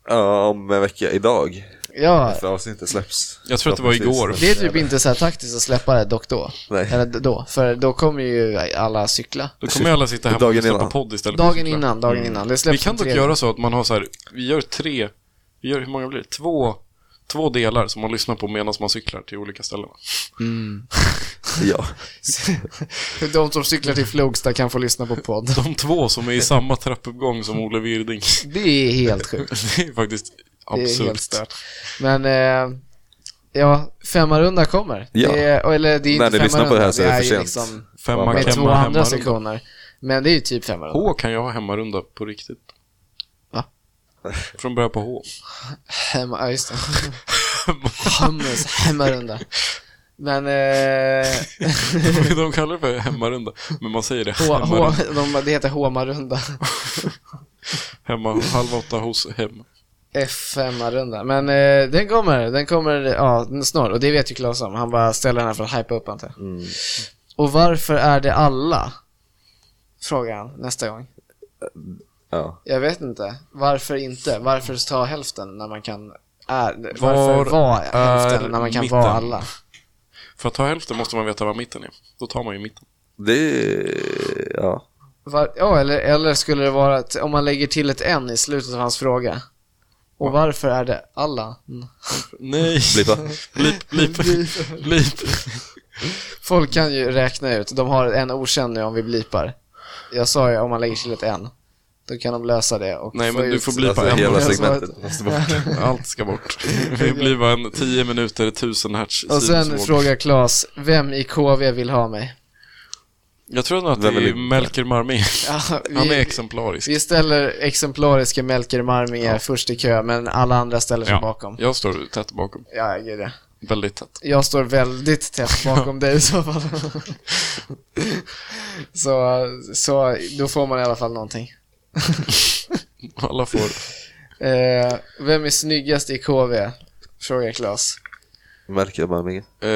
Ja, om en vecka idag. Ja, För avsnittet släpps. Jag tror att det var igår. det är typ inte så här taktiskt att släppa det dock då. Nej. Eller då, för då kommer ju alla cykla. Då kommer alla sitta hemma och Dagen lyssna på innan. podd istället. för att Dagen cykla. innan, dagen innan. Det Mm. Vi släpps kan den dock tredje. göra så att man har så här, vi gör tre, vi gör, hur många blir det? Två, två delar som man lyssnar på medan man cyklar till olika ställen. Ja. Mm. De som cyklar till Flogsta kan få lyssna på podd. De två som är i samma trappuppgång som Olle Wirding. Det är helt sjukt. Det är faktiskt Det är helt absurt. stört. Men, eh, ja, femmarunda kommer. Ja. Det är, eller det är När inte ni lyssnar på det här så är det femmarunda, för sent. liksom Femma Med med två hemma, hemma andra sektioner. Men det är ju typ femmarunda. H kan jag ha hemmarunda på riktigt. Va? Från början på H. Hemma, ja just det. Hummus, hemmarunda. Men, eh, De kallar det för hemmarunda, men man säger det H, H, hemmarunda. de, det heter Håmarunda. Hemma, halv åtta hos hem. F5-runda. Men eh, den kommer, den kommer, ja, den snart. Och det vet ju Claes om. Han bara ställer den här för att hypa upp antar jag. Mm. Och varför är det alla? Frågar han nästa gång. ja. Jag vet inte. Varför inte? Varför ta hälften när man kan... Är, Var varför vara är hälften när man kan mitten? vara alla? För att ta hälften måste man veta var mitten är. Då tar man ju mitten. Det är... Ja. Var, ja, eller, eller skulle det vara att om man lägger till ett N i slutet av hans fråga. Och varför är det alla? Mm. Nej. Blippa. Blip, blip, blip. Folk kan ju räkna ut. De har en okänd nu om vi blipar. Jag sa ju om man lägger till ett N. Då kan de lösa det och Nej, få men du ut- får bli- Blippa Alltså en hela gång. segmentet Alltså, måste bort. Allt ska bort. Det blir bara en 10 minuter, 1000 hertz Och sen sidosvåg. frågar Claes, vem i KV vill ha mig? Jag tror nog att det Vem vill är inte? Melker Marmé. Ja, Han är vi, exemplarisk. vi ställer exemplariska Melker Marminger först i kö, men alla andra ställer sig bakom. jag står tätt bakom. Ja, gud ja. Väldigt tätt. Jag står väldigt tätt bakom dig i så fall. så, så då får man i alla fall någonting. Alla får... Eh, vem är snyggast i KV? Frågar Claes. Märker man mig? Eh, Det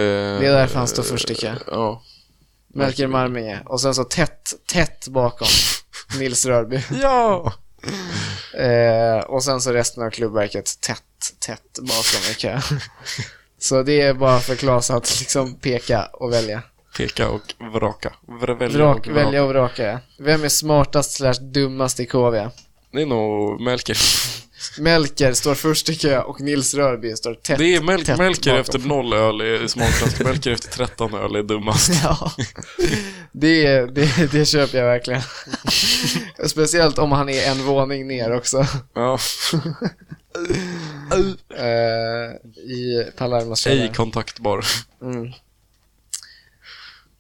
är därför han står först i kö. Ja. Melker Marminge. Och sen så tätt, tätt bakom Nils Rörby. Ja! Eh, och sen så resten av klubbverket tätt, tätt bakom i kö. Så det är bara för Claes att liksom peka och välja. Peka och vraka. Vra, välja Vrak, och vraka. välja och vraka. Vem är smartast slash dummast i KV? Det är nog Melker. Melker står först i kö och Nils Rörby står tätt. Det är Mel- tätt Melker bakom. efter noll öl är smartast. Melker efter 13 öl är dummast. Ja, det, det, det köper jag verkligen. Speciellt om han är en våning ner också. Ja. Eh, I Palermos källare. Ej kontaktbar. Mm.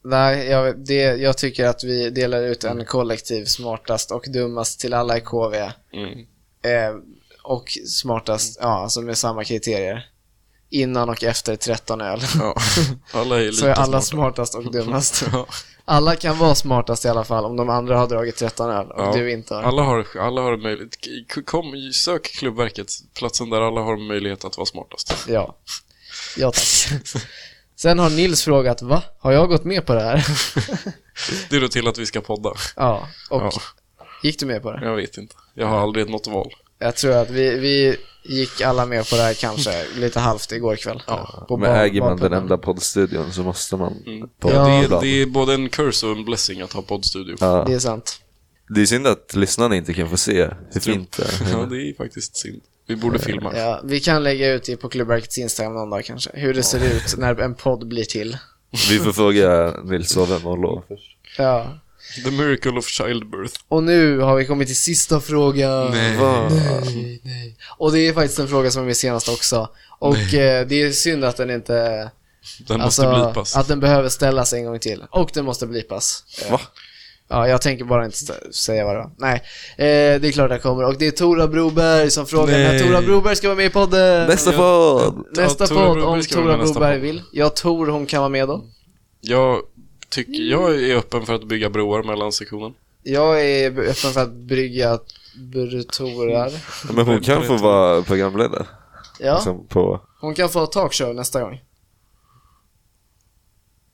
Nej, jag, det, jag tycker att vi delar ut en kollektiv smartast och dummast till alla i KV. Mm. Eh, och smartast, ja, alltså med samma kriterier. Innan och efter 13 öl. Ja. Alla är lite Så är alla smarta. smartast och dummast. Ja. Alla kan vara smartast i alla fall om de andra har dragit 13 öl och Ja. du inte har. Alla har, alla har möjlighet. K- Kom, sök Klubbverket, platsen där alla har möjlighet att vara smartast. Ja. Ja, tack. Sen har Nils frågat, va? Har jag gått med på det här? Det då till att vi ska podda. Ja, och Ja, gick du med på det? jag vet inte. Jag har aldrig något val. Jag tror att vi, vi gick alla med på det här kanske lite halvt igår kväll. På Men bar- äger man den barpuben. enda poddstudion så måste man podda. Ja, det, är, ibland. det är både en curse och en blessing att ha poddstudio. Ja. Det är sant. Det är synd att lyssnarna inte kan få se hur fint det Ja, är. det är faktiskt synd. Vi borde filma. Ja, vi kan lägga ut det på Klubbverkets Instagram någon dag kanske. Hur det ser ut när en podd blir till. Vi får fråga Nils och vem hon lov. Ja. The miracle of childbirth. Och nu har vi kommit till sista frågan. Va? Nej, nej. Och det är faktiskt en fråga som är med senast också. Och eh, det är synd att den inte... Den måste Alltså, blipas. att den behöver ställas en gång till. Och den måste blipas. Eh, Va? Ja, jag tänker bara inte st- säga vad det var. Nej, eh, det är klart det kommer. Och det är Tora Broberg som frågar när Nej. Tora Broberg ska vara med i podden. Nästa podd! Nästa Ja, Tora podd Broberg om ska vara med Tora i nästa Broberg podd. vill. Jag tror hon kan vara med då. Jag, tycker, jag är öppen för att bygga broar mellan sektionen. Jag är b- öppen för att brygga brutorar. Men hon kan få vara programledare. Ja, Liksom på, hon kan få talkshow nästa gång.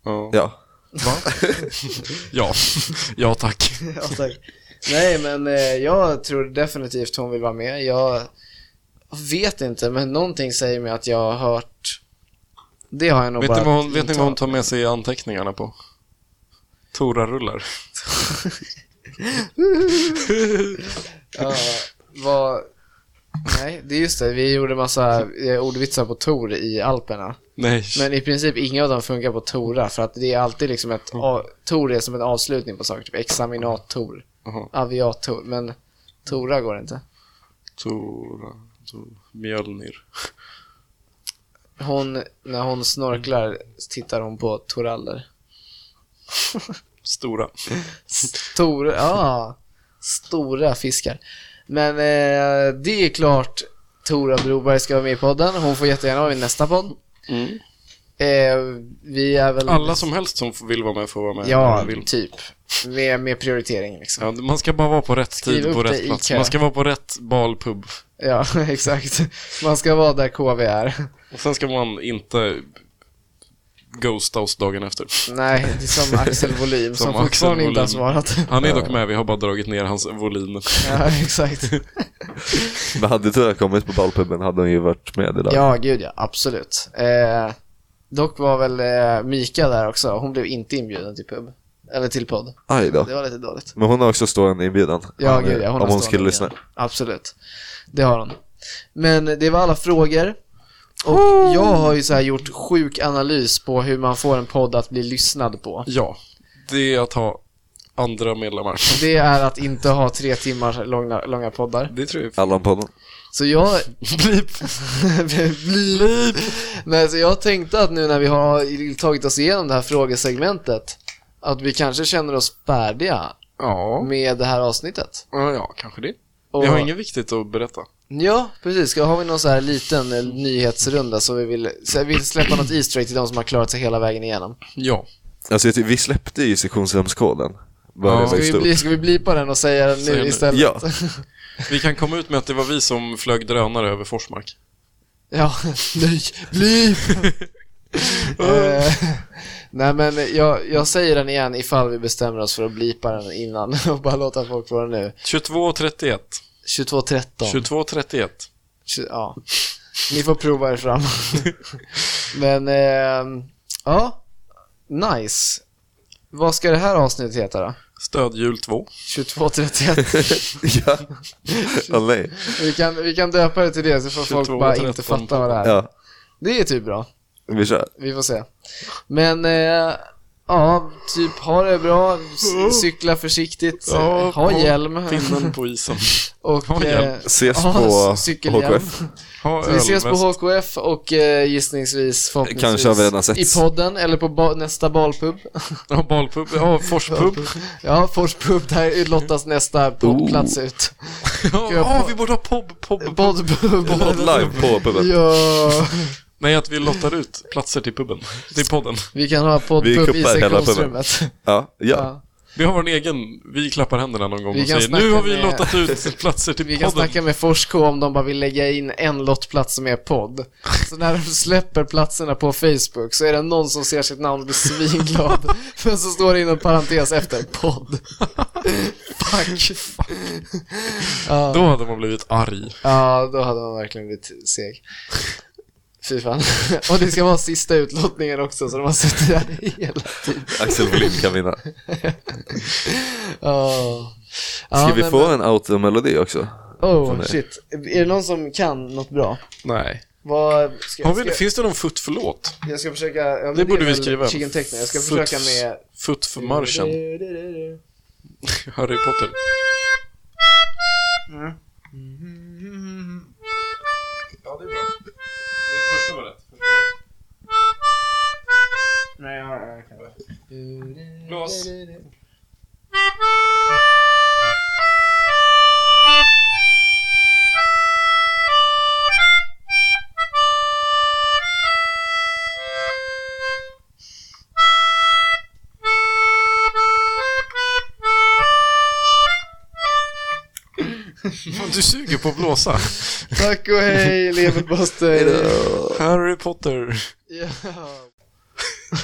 Ja. ja. Ja, ja tack. Ja, tack. Nej, men eh, jag tror definitivt hon vill vara med. Jag vet inte, men någonting säger mig att jag har hört... Det har jag nog Vet bara... ni, vad hon, vet ni vad hon intalat. tar med sig i anteckningarna på? Tora-rullar. Ja, vad... Nej, det är just det. Vi gjorde massa eh, ordvitsar på Tor i Alperna. Nej. Men i princip inga av dem funkar på Tora, för att det är alltid liksom ett... a- Tor är som en avslutning på saker, typ examinator, Jaha. aviator, men Tora går inte. Tora... Tor- Mjölnir. Hon, när hon snorklar tittar hon på Toraller. Stora. Stora, ja. Stora fiskar. Men eh, det är klart Tora Broberg ska vara med i podden. Hon får jättegärna vara med i nästa podd. Mm. Eh, vi är väl... Alla som helst som vill vara med får vara med. när Ja, de vill. typ. Med, med prioritering liksom. Ja, man ska bara vara på rätt Skriv tid upp på det rätt i plats. kö. Man ska vara på rätt balpub. Ja, exakt. Man ska vara där KV är. Och sen ska man inte ghosta oss dagen efter. Nej, det är som Axel Volym som, Som Axel fortfarande inte har Wåhlin. svarat. Han är dock med, vi har bara dragit ner hans volym. Ja, exakt. Men hade Tora kommit på ballpuben hade hon ju varit med idag. Ja, gud ja. Absolut. Eh, dock var väl eh, Mika där också. Hon blev inte inbjuden till pub. Eller till podd. Aj då. Det var lite dåligt. Men hon har också stående inbjudan. Ja, Om- gud, ja, hon har Om hon stående skulle ben. lyssna. Absolut. Det har hon. Men det var alla frågor. Och jag har ju så här gjort sjuk analys på hur man får en podd att bli lyssnad på. Ja, det är att ha andra medlemmar. Det är att inte ha tre timmar långa, långa poddar. Det tror jag. Allan-podden. Så jag... Blip! Blip! Nej, så jag tänkte att nu när vi har tagit oss igenom det här frågesegmentet att vi kanske känner oss färdiga Ja, med det här avsnittet. ja, ja kanske det. Och- Vi har inget viktigt att berätta. Ja, precis. Ska, har vi någon så här liten eh, nyhetsrunda så vi vill, så vi vill släppa något Easter egg till de som har klarat sig hela vägen igenom? Ja, Alltså jag tycker, vi släppte ju sektionsrumskoden. Bara Ja. det Ska var ju vi, stort. bli, ska vi blipa den och säga den Säg nu nu. istället? Ja. vi kan komma ut med att det var vi som flög drönare över Forsmark. ja. Nej, blip! Eh, Nej men jag, jag säger den igen ifall vi bestämmer oss för att blipa den innan och bara låta folk få den nu. 22.31. 22.13. 22.31. Tju- Ja. Ni får prova er fram. men, eh, ja. Nice. Vad ska det här avsnittet heta då? Stödhjul 2. 22.31. ja. Åh nej. Vi kan, vi kan döpa det till det så får folk 22, bara inte 13. fatta vad det är. Ja, Det är typ bra. vi kör. Vi får se. Men eh, Ja, typ ha det bra, c- cykla försiktigt, Ja, ha håll hjälm pinnen på isen. och... ha hjälm. eh, Ses ja, på cykelhjälm. HKF. Ha Så vi ses på ölväst. HKF och eh, gissningsvis förhoppningsvis Kanske har vi redan sett. i podden eller på ba- nästa balpub. Ja, balpub. Ja, forspub. Ja, Forspub, där lottas nästa poddplats ut. Ja, ja, vi borde ha pob, pob, pob. Poddpub. Podd live på puben. Ja, Nej, att vi lottar ut platser till puben. Till podden. vi kan ha Vi poddpub i kuppar hela puben. sektionsrummet. Ja, ja. Ja. Vi har vår egen, vi klappar händerna någon gång Vi och kan säger snacka nu har vi med- lottat ut platser Vi till kan podden. snacka med Forsko om de bara vill lägga in en lottplats som är podd. Så när de släpper platserna på Facebook så är det någon som ser sitt namn och blir svinglad. Men så står det inom parentes efter podd. Fuck. Ja. Då hade man blivit arg. Ja, då hade man verkligen blivit seg. Fy fan. Och det ska vara sista utlottningen också, så de har suttit där hela tiden. Axel Wallin kan vinna. Oh. Ska vi få en automelodi också? Oh, shit. Är det någon som kan något bra? Nej. Vad... Ska, Har vi, ska, finns det någon foot för låt? jag ska försöka... Ja, men Det borde är vi väl skriva. Chicken Techno. Jag ska Foot- försöka med... Foot för marschen. Harry Potter. Ja, det är bra. Det första var rätt. Nej, jag har- jag kan inte. Blås. Du suger på att blåsa. Tack och hej, leverpastej! Harry Potter. Ja.